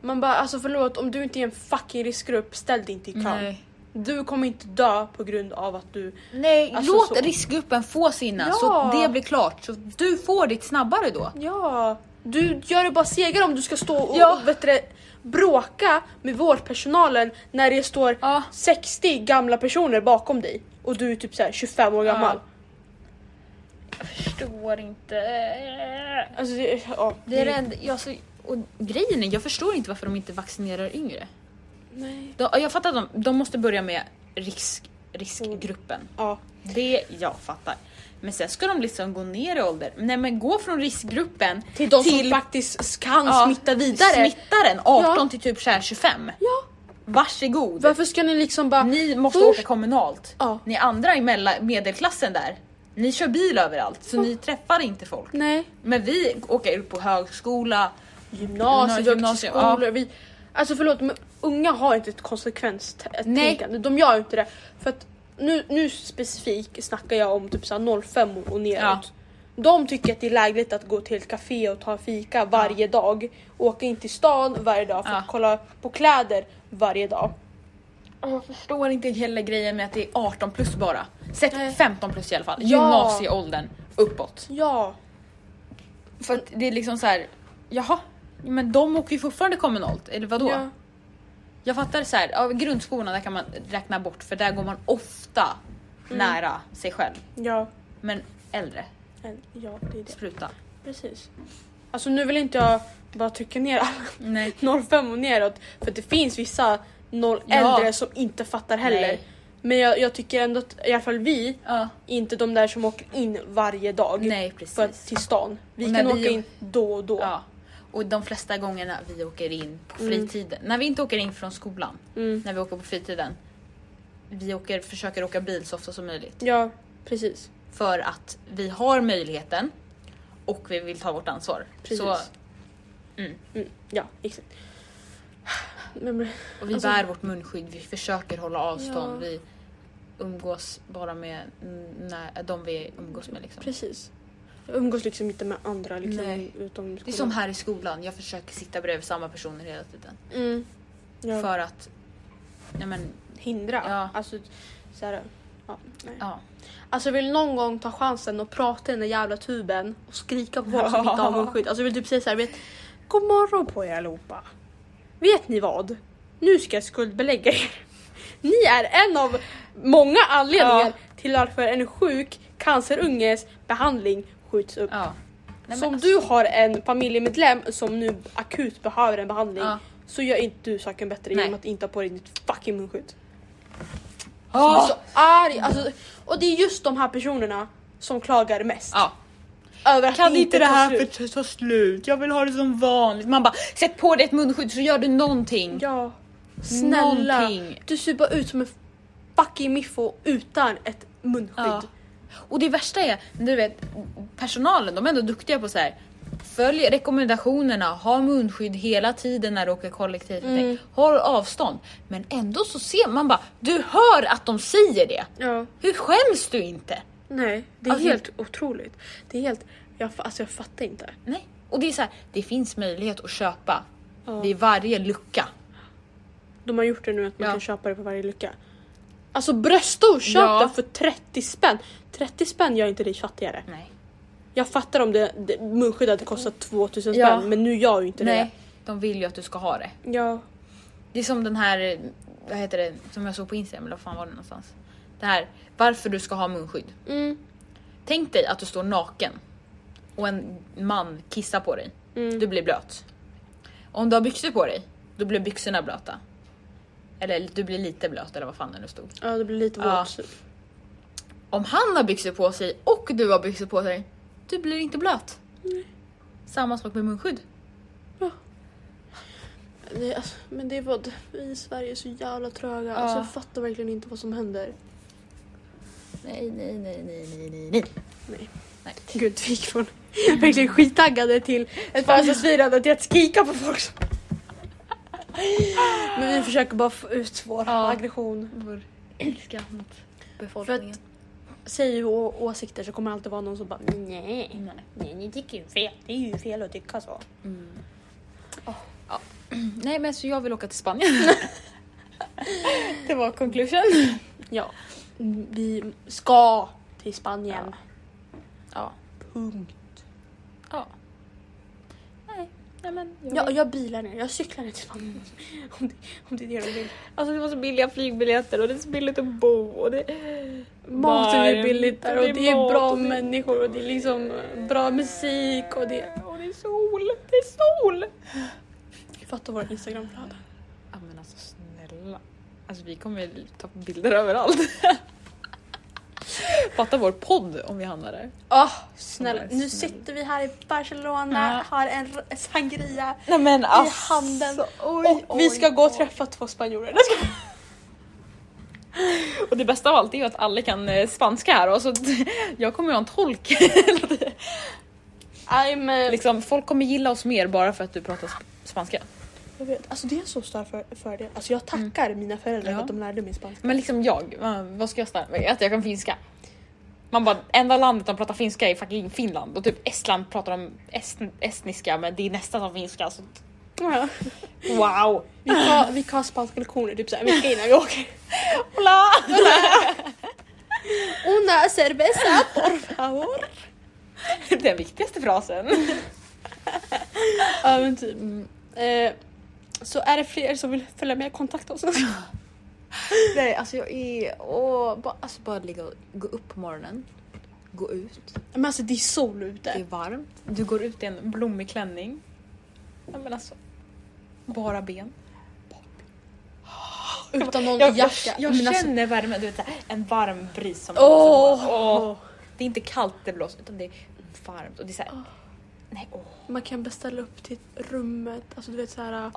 [SPEAKER 3] Man bara alltså förlåt om du inte är en fucking riskgrupp ställ dig inte i kö.
[SPEAKER 2] nej.
[SPEAKER 3] Du kommer inte dö på grund av att du...
[SPEAKER 2] Nej,
[SPEAKER 3] Alltså
[SPEAKER 2] låt
[SPEAKER 3] så.
[SPEAKER 2] riskgruppen få sina
[SPEAKER 3] Ja.
[SPEAKER 2] så det blir klart. Så du får ditt snabbare då.
[SPEAKER 3] Ja. Du gör det bara segare om du ska stå och,
[SPEAKER 2] Mm. Ja.
[SPEAKER 3] och vet du, det, bråka med vårdpersonalen när det står
[SPEAKER 2] Ja.
[SPEAKER 3] 60 gamla personer bakom dig och du är typ så här 25 år
[SPEAKER 2] Ja.
[SPEAKER 3] gammal.
[SPEAKER 2] Förstår inte.
[SPEAKER 3] Alltså det, ja.
[SPEAKER 2] Det är det enda, jag, så, och grejen är, jag förstår inte varför de inte vaccinerar yngre.
[SPEAKER 3] Nej.
[SPEAKER 2] De, jag fattar att de, de måste börja med risk, riskgruppen.
[SPEAKER 3] Ja.
[SPEAKER 2] Det jag fattar. Men sen ska de liksom gå ner i ålder. Nej men gå från riskgruppen
[SPEAKER 3] Till de
[SPEAKER 2] till
[SPEAKER 3] som faktiskt kan
[SPEAKER 2] ja,
[SPEAKER 3] smitta vidare.
[SPEAKER 2] smittaren 18
[SPEAKER 3] Ja.
[SPEAKER 2] till typ så här 25.
[SPEAKER 3] Ja.
[SPEAKER 2] Varsågod.
[SPEAKER 3] Varför ska ni liksom bara...
[SPEAKER 2] Ni måste
[SPEAKER 3] Först-
[SPEAKER 2] åka kommunalt.
[SPEAKER 3] Ja.
[SPEAKER 2] Ni andra i mella- medelklassen där, ni kör bil överallt så ni träffar inte folk.
[SPEAKER 3] Nej.
[SPEAKER 2] Men vi åker upp på högskola.
[SPEAKER 3] Gymnasiet,
[SPEAKER 2] Gymnasium,
[SPEAKER 3] högskolor. Vi, alltså förlåt men unga har inte ett konsekvenstänkande. De gör inte det. För att nu, nu specifikt snackar jag om typ så här 05 och neråt. De tycker att det är lägligt att gå till ett café och ta fika varje dag. Åka in till stan varje dag för att
[SPEAKER 2] Ja.
[SPEAKER 3] kolla på kläder varje dag.
[SPEAKER 2] Jag förstår inte heller grejen med att det är 18 plus bara. Sätt
[SPEAKER 3] Nej.
[SPEAKER 2] 15 plus i alla fall.
[SPEAKER 3] Ja.
[SPEAKER 2] Gymnasieåldern uppåt.
[SPEAKER 3] Ja,
[SPEAKER 2] För att det är liksom så här. jaha, men de åker ju fortfarande kommunalt eller vadå?
[SPEAKER 3] ja.
[SPEAKER 2] Jag fattar så här, ja, grundskolan där kan man räkna bort för där går man ofta
[SPEAKER 3] Mm.
[SPEAKER 2] nära sig själv.
[SPEAKER 3] Ja.
[SPEAKER 2] Men äldre,
[SPEAKER 3] En- Ja, det är det.
[SPEAKER 2] spruta.
[SPEAKER 3] Precis. Alltså nu vill inte jag bara trycka ner alla <laughs>
[SPEAKER 2] Nej.
[SPEAKER 3] 05 och neråt. För att det finns vissa 0
[SPEAKER 2] Ja.
[SPEAKER 3] äldre som inte fattar heller.
[SPEAKER 2] Nej.
[SPEAKER 3] Men jag, jag tycker ändå att i alla fall vi,
[SPEAKER 2] Ja.
[SPEAKER 3] inte de där som åker in varje dag
[SPEAKER 2] Nej
[SPEAKER 3] för att,
[SPEAKER 2] precis.
[SPEAKER 3] till stan. Vi
[SPEAKER 2] Och
[SPEAKER 3] kan
[SPEAKER 2] när
[SPEAKER 3] åka
[SPEAKER 2] vi-
[SPEAKER 3] in då och då.
[SPEAKER 2] Ja. Och de flesta gångerna vi åker in på
[SPEAKER 3] Mm.
[SPEAKER 2] fritiden, när vi inte åker in från skolan,
[SPEAKER 3] Mm.
[SPEAKER 2] när vi åker på fritiden. Vi åker, försöker åka bil så ofta som möjligt.
[SPEAKER 3] ja precis.
[SPEAKER 2] För att vi har möjligheten och vi vill ta vårt ansvar.
[SPEAKER 3] Precis.
[SPEAKER 2] Så,
[SPEAKER 3] Mm. Ja, exakt. Men,
[SPEAKER 2] och vi
[SPEAKER 3] Alltså-
[SPEAKER 2] bär vårt munskydd, vi försöker hålla avstånd.
[SPEAKER 3] Ja.
[SPEAKER 2] Vi umgås bara med mm, när, de vi umgås med. Liksom.
[SPEAKER 3] precis. Jag umgås liksom inte med andra liksom,
[SPEAKER 2] Nej.
[SPEAKER 3] utom
[SPEAKER 2] Det är som
[SPEAKER 3] skolan.
[SPEAKER 2] här i skolan, jag försöker sitta bredvid samma personer hela tiden.
[SPEAKER 3] Mm. Ja.
[SPEAKER 2] För att... Nej men,
[SPEAKER 3] Hindra.
[SPEAKER 2] Ja.
[SPEAKER 3] Alltså, så här, ja, nej.
[SPEAKER 2] ja.
[SPEAKER 3] Alltså jag vill någon gång ta chansen och prata i den där jävla tuben och skrika på folk som inte har
[SPEAKER 2] <laughs>
[SPEAKER 3] munskydd. Alltså jag vill typ säga såhär, vet God morgon på er allihopa. Vet ni vad? Nu ska jag skuldbelägga er. <laughs> Ni är en av många anledningar till varför en sjuk cancerunges behandling skjuts upp.
[SPEAKER 2] ja. Nej,
[SPEAKER 3] så om
[SPEAKER 2] men alltså-
[SPEAKER 3] du har en familjemedlem som nu akut behöver en behandling
[SPEAKER 2] Ja.
[SPEAKER 3] så gör inte du saken bättre genom
[SPEAKER 2] Nej.
[SPEAKER 3] att inte ha på dig ditt fucking munskydd. Jag blir
[SPEAKER 2] alltså-
[SPEAKER 3] så arg! Alltså, och det är just de här personerna som klagar mest.
[SPEAKER 2] Ja.
[SPEAKER 3] Över att
[SPEAKER 2] Ah. Kan inte det
[SPEAKER 3] tar
[SPEAKER 2] här
[SPEAKER 3] slut.
[SPEAKER 2] för ta slut? Jag vill ha det som vanligt. Man bara sätt på dig ett munskydd så gör du någonting.
[SPEAKER 3] Ja. Snälla.
[SPEAKER 2] Någonting.
[SPEAKER 3] Du ser bara ut som en fucking miffo utan ett munskydd.
[SPEAKER 2] Ja. Och det värsta är, du vet, personalen de är ändå duktiga på så här. Följ rekommendationerna, ha munskydd hela tiden när du åker kollektivt.
[SPEAKER 3] Mm.
[SPEAKER 2] Håll avstånd. Men ändå så ser man bara, du hör att de säger det.
[SPEAKER 3] Ja.
[SPEAKER 2] Hur skäms du inte?
[SPEAKER 3] Nej, det är
[SPEAKER 2] Alltså-
[SPEAKER 3] helt otroligt. Det är helt... Jag, fa- alltså jag fattar inte.
[SPEAKER 2] Nej. Och det är så här, det finns möjlighet att köpa
[SPEAKER 3] Ja.
[SPEAKER 2] vid varje lucka.
[SPEAKER 3] De har gjort det nu att man
[SPEAKER 2] Ja.
[SPEAKER 3] kan köpa det på varje lucka. Alltså bröstor, köp
[SPEAKER 2] Ja.
[SPEAKER 3] det för 30 spänn. 30 spänn gör inte dig fattigare.
[SPEAKER 2] Nej.
[SPEAKER 3] Jag fattar om det, det munskydd hade kostat 2000
[SPEAKER 2] Ja.
[SPEAKER 3] spänn men nu gör ju inte
[SPEAKER 2] Nej. De vill ju att du ska ha det.
[SPEAKER 3] det. Ja.
[SPEAKER 2] Det är som den här, eh, vad heter det, som jag såg på Instagram, eller vad fan var det någonstans? Det här, varför du ska ha munskydd.
[SPEAKER 3] Mm.
[SPEAKER 2] Tänk dig att du står naken och en man kissar på dig.
[SPEAKER 3] Mm.
[SPEAKER 2] Du blir blöt. Om du har byxor på dig, då blir byxorna blöta. Eller du blir lite blöt eller vad fan det nu stod.
[SPEAKER 3] Ja det blir lite
[SPEAKER 2] Ja.
[SPEAKER 3] våt.
[SPEAKER 2] Om han har byxor på sig och du har byxor på dig, du blir inte blöt. Samma sak med munskydd.
[SPEAKER 3] Nej, alltså, men det var, vi i Sverige är så jävla tröga.
[SPEAKER 2] Ja.
[SPEAKER 3] Alltså, jag fattar verkligen inte vad som händer.
[SPEAKER 2] Nej, nej, nej, nej, nej, nej, nej.
[SPEAKER 3] Nej.
[SPEAKER 2] Nej.
[SPEAKER 3] Gud, vi gick från <laughs> verkligen skittaggade till ett födelsedagsfirande till att skrika på folk. som- Men vi försöker bara få ut vår
[SPEAKER 2] Ja.
[SPEAKER 3] aggression.
[SPEAKER 2] Vår ilska mot befolkningen.
[SPEAKER 3] Säger å- åsikter så kommer det alltid vara någon som bara nej,
[SPEAKER 2] Nej.
[SPEAKER 3] nej, ni tycker ju fel. Det är ju fel att tycka så.
[SPEAKER 2] Mm. <clears throat> nej, men så jag vill åka till Spanien. det var conclusion.
[SPEAKER 3] Ja, vi ska till Spanien.
[SPEAKER 2] Ja.
[SPEAKER 3] Punkt.
[SPEAKER 2] ja. Nej, nej men. Jag
[SPEAKER 3] Ja,
[SPEAKER 2] vill-
[SPEAKER 3] jag bilar ner, jag cyklar ner till Spanien. <laughs> Om det, om det är det de vill.
[SPEAKER 2] Alltså det var så billiga flygbiljetter och det är så billigt att bo och det...
[SPEAKER 3] Maten är
[SPEAKER 2] Varmt,
[SPEAKER 3] billigt där och det är
[SPEAKER 2] mat
[SPEAKER 3] bra
[SPEAKER 2] och det-
[SPEAKER 3] människor och det är liksom bra musik och det...
[SPEAKER 2] Och det är sol! Det är sol!
[SPEAKER 3] Fatta våra Instagramflöden.
[SPEAKER 2] Ja men alltså snälla. Alltså vi kommer ju ta bilder överallt. <laughs> Fatta vår podd om vi hamnar där.
[SPEAKER 3] Åh, snälla.
[SPEAKER 2] Snälla,
[SPEAKER 3] Nu
[SPEAKER 2] Ah, snälla.
[SPEAKER 3] sitter vi här i Barcelona,
[SPEAKER 2] Ja.
[SPEAKER 3] har en r- sangria
[SPEAKER 2] Nej men
[SPEAKER 3] alltså, och vi ska gå och träffa två spanjorer. Jag ska-
[SPEAKER 2] Och det bästa av allt är ju att alla kan eh, spanska här och så <laughs> jag kommer ju ha en tolk.
[SPEAKER 3] Nej men...
[SPEAKER 2] liksom, folk kommer gilla oss mer bara för att du pratar sp- spanska.
[SPEAKER 3] Jag vet, alltså det är så stor för, fördel. Alltså jag tackar mina föräldrar
[SPEAKER 2] Mm. Ja.
[SPEAKER 3] för att de lärde mig spanska.
[SPEAKER 2] Men liksom jag, va- vad ska jag stanna med? Att jag kan finska. Man bara, enda landet de pratar finska är fucking Finland och typ Estland pratar de est estniska men det är nästan som finska. Så t-
[SPEAKER 3] Ja.
[SPEAKER 2] wow!
[SPEAKER 3] Vi kan, vi kan ha spanska lektioner typ såhär en vecka innan
[SPEAKER 2] <laughs>
[SPEAKER 3] vi åker.
[SPEAKER 2] Hola!
[SPEAKER 3] Una cerveza por favor.
[SPEAKER 2] Den viktigaste frasen.
[SPEAKER 3] Ja men typ. Eh, så är det fler som vill följa med kontakta oss.
[SPEAKER 2] Nej alltså jag är, åh, bara, alltså bara ligga och gå upp på morgonen, gå ut,
[SPEAKER 3] <laughs> Men alltså det är sol
[SPEAKER 2] det är
[SPEAKER 3] ute.
[SPEAKER 2] varmt, du går ut i en blommig klänning. Ja men alltså, bara ben.
[SPEAKER 3] Utan någon
[SPEAKER 2] Jag, jag,
[SPEAKER 3] jacka.
[SPEAKER 2] jag
[SPEAKER 3] Men alltså-
[SPEAKER 2] känner värmen, du vet såhär, en varm bris som
[SPEAKER 3] Åh!
[SPEAKER 2] som bara- åh. Det är inte kallt det blåser utan det är varmt och det är såhär... Nej, åh. <laughs>
[SPEAKER 3] Man kan beställa upp till rummet. Alltså du vet såhär.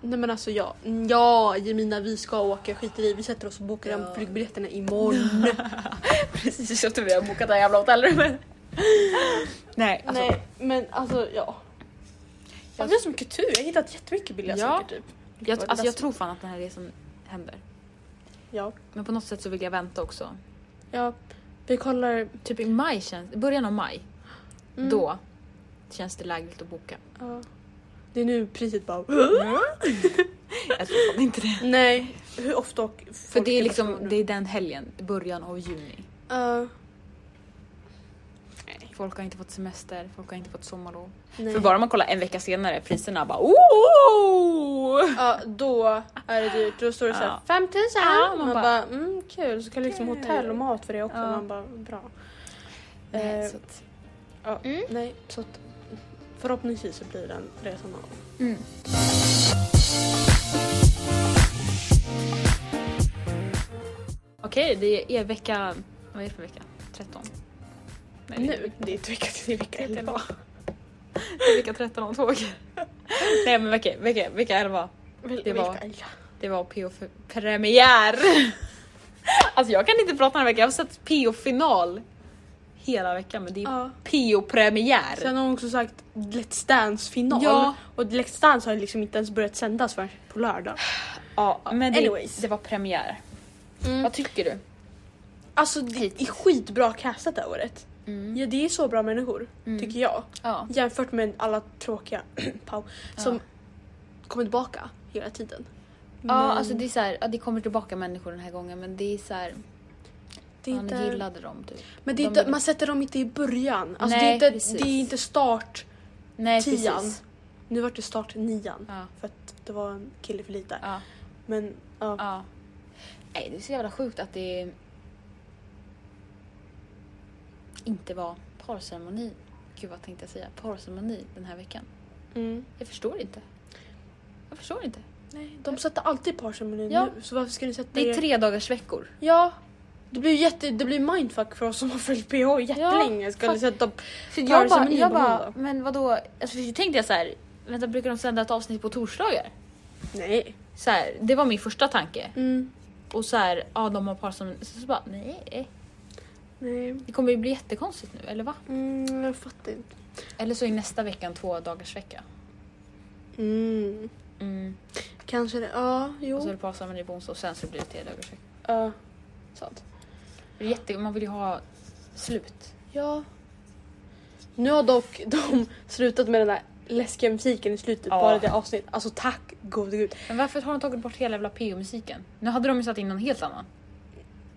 [SPEAKER 3] Nej men alltså ja. Ja Jemina vi ska åka. Skiter i. Vi sätter oss och bokar
[SPEAKER 2] Ja.
[SPEAKER 3] de flygbiljetterna <laughs> imorgon.
[SPEAKER 2] Precis efter vi har bokat det här jävla hotellrummet. <laughs> Nej, alltså.
[SPEAKER 3] Nej men alltså ja. Jag är som kultur. Jag har hittat jättemycket billiga
[SPEAKER 2] Ja.
[SPEAKER 3] saker typ.
[SPEAKER 2] Jag,
[SPEAKER 3] Vad
[SPEAKER 2] alltså jag
[SPEAKER 3] ledsen.
[SPEAKER 2] tror fan att den här resan händer.
[SPEAKER 3] Ja.
[SPEAKER 2] Men på något sätt så vill jag vänta också.
[SPEAKER 3] Ja. Vi kollar.
[SPEAKER 2] Typ i maj känns, i början av maj,
[SPEAKER 3] Mm.
[SPEAKER 2] då känns det lägligt att boka.
[SPEAKER 3] Ja. Det är nu priset <gasps> bara.
[SPEAKER 2] <laughs> Jag tror fan inte det.
[SPEAKER 3] Nej. Hur ofta åker folk
[SPEAKER 2] För det är
[SPEAKER 3] till
[SPEAKER 2] liksom,
[SPEAKER 3] Barcelona?
[SPEAKER 2] det är den helgen, början av juni.
[SPEAKER 3] Ja.
[SPEAKER 2] Folk har inte fått semester, folk har inte fått sommarlov.
[SPEAKER 3] nej.
[SPEAKER 2] För bara man kollar en vecka senare, priserna bara oh!
[SPEAKER 3] Ja, då är det dyrt. Då står det såhär
[SPEAKER 2] Ja.
[SPEAKER 3] 5000!
[SPEAKER 2] Ja,
[SPEAKER 3] man,
[SPEAKER 2] man bara-
[SPEAKER 3] bara mm, kul. Så kan liksom
[SPEAKER 2] Kul.
[SPEAKER 3] hotell och mat för det också.
[SPEAKER 2] Ja.
[SPEAKER 3] Man bara bra.
[SPEAKER 2] Nej,
[SPEAKER 3] Eh,
[SPEAKER 2] så att,
[SPEAKER 3] ja,
[SPEAKER 2] Mm.
[SPEAKER 3] Nej, så att förhoppningsvis så blir den resan av.
[SPEAKER 2] mm. Okej, det är vecka... Vad är det för vecka? 13? Nej, det är
[SPEAKER 3] Nu, det är ett vecka till vecka
[SPEAKER 2] Vecka
[SPEAKER 3] elva.
[SPEAKER 2] det är vecka 13 om två veckor. <laughs> Nej men vecka, vecka, vecka 11.
[SPEAKER 3] Vil-
[SPEAKER 2] Det var-
[SPEAKER 3] vilka elva?
[SPEAKER 2] Det var PO för premiär. <laughs> Alltså jag kan inte prata den här veckan, jag har sett PO final hela veckan men det är
[SPEAKER 3] Ja.
[SPEAKER 2] PO premiär.
[SPEAKER 3] Sen har hon också sagt Let's Dance final.
[SPEAKER 2] Ja.
[SPEAKER 3] Och Let's Dance har liksom inte ens börjat sändas förrän på lördag.
[SPEAKER 2] Ja, Mm. men det,
[SPEAKER 3] Anyways.
[SPEAKER 2] det var premiär. Vad tycker du?
[SPEAKER 3] Alltså det är skitbra castat det här året. Ja, det är så bra människor, tycker jag.
[SPEAKER 2] Mm. Ja.
[SPEAKER 3] Jämfört med alla tråkiga <clears throat> Pau som kommer tillbaka hela tiden.
[SPEAKER 2] ja, alltså det är så här, ja, det kommer tillbaka människor den här gången men det är så här,
[SPEAKER 3] Det är
[SPEAKER 2] man
[SPEAKER 3] inte,
[SPEAKER 2] gillade dem typ.
[SPEAKER 3] men det är
[SPEAKER 2] de
[SPEAKER 3] inte,
[SPEAKER 2] gillar-
[SPEAKER 3] man sätter dem inte i början. Alltså
[SPEAKER 2] Nej,
[SPEAKER 3] det, är inte,
[SPEAKER 2] precis.
[SPEAKER 3] det är inte start
[SPEAKER 2] Nej
[SPEAKER 3] tian.
[SPEAKER 2] precis.
[SPEAKER 3] Nu vart det start nian.
[SPEAKER 2] Ja,
[SPEAKER 3] För att det var en kille för lite.
[SPEAKER 2] ja,
[SPEAKER 3] Men ja.
[SPEAKER 2] ja. Nej det är så jävla sjukt att det inte var parceremoni. Gud vad tänkte jag säga? Parceremoni den här veckan.
[SPEAKER 3] Mm.
[SPEAKER 2] Jag förstår inte. Jag förstår inte.
[SPEAKER 3] Nej, de sätter alltid parceremonin
[SPEAKER 2] Ja.
[SPEAKER 3] nu. Så varför ska ni sätta
[SPEAKER 2] Det är
[SPEAKER 3] er-
[SPEAKER 2] tre dagars veckor.
[SPEAKER 3] Ja. Det blir ju jätte, det blir mindfuck för oss som har följt PH jättelänge. Ska
[SPEAKER 2] fast-
[SPEAKER 3] ni sätta upp
[SPEAKER 2] För
[SPEAKER 3] Tar
[SPEAKER 2] jag
[SPEAKER 3] det som
[SPEAKER 2] bara,
[SPEAKER 3] en
[SPEAKER 2] jag
[SPEAKER 3] nybörjare
[SPEAKER 2] bara
[SPEAKER 3] då?
[SPEAKER 2] men vadå? Alltså, för tänkte jag så här, vänta brukar de sända ett avsnitt på torsdagar?
[SPEAKER 3] Nej.
[SPEAKER 2] Så här, det var min första tanke.
[SPEAKER 3] Mm.
[SPEAKER 2] Och så här, ja de har par som... Så, så bara, nej.
[SPEAKER 3] Nej.
[SPEAKER 2] Det kommer ju bli jättekonstigt nu, eller va?
[SPEAKER 3] Mm, jag fattar inte.
[SPEAKER 2] Eller så är nästa vecka en två dagars vecka.
[SPEAKER 3] Mm.
[SPEAKER 2] Mm.
[SPEAKER 3] Kanske det. Ja, jo.
[SPEAKER 2] Och så är det par som är på onsdag och sen så blir det tre dagars vecka.
[SPEAKER 3] Ja.
[SPEAKER 2] Sånt. Det är jätte, man vill ju ha slut.
[SPEAKER 3] ja. Nu har dock <laughs> de slutat med den där läskiga musiken i slutet
[SPEAKER 2] Ja.
[SPEAKER 3] bara det avsnittet. Alltså tack gode gud.
[SPEAKER 2] Men varför har de tagit bort hela jävla PO-musiken? Nu hade de ju satt in någon helt annan.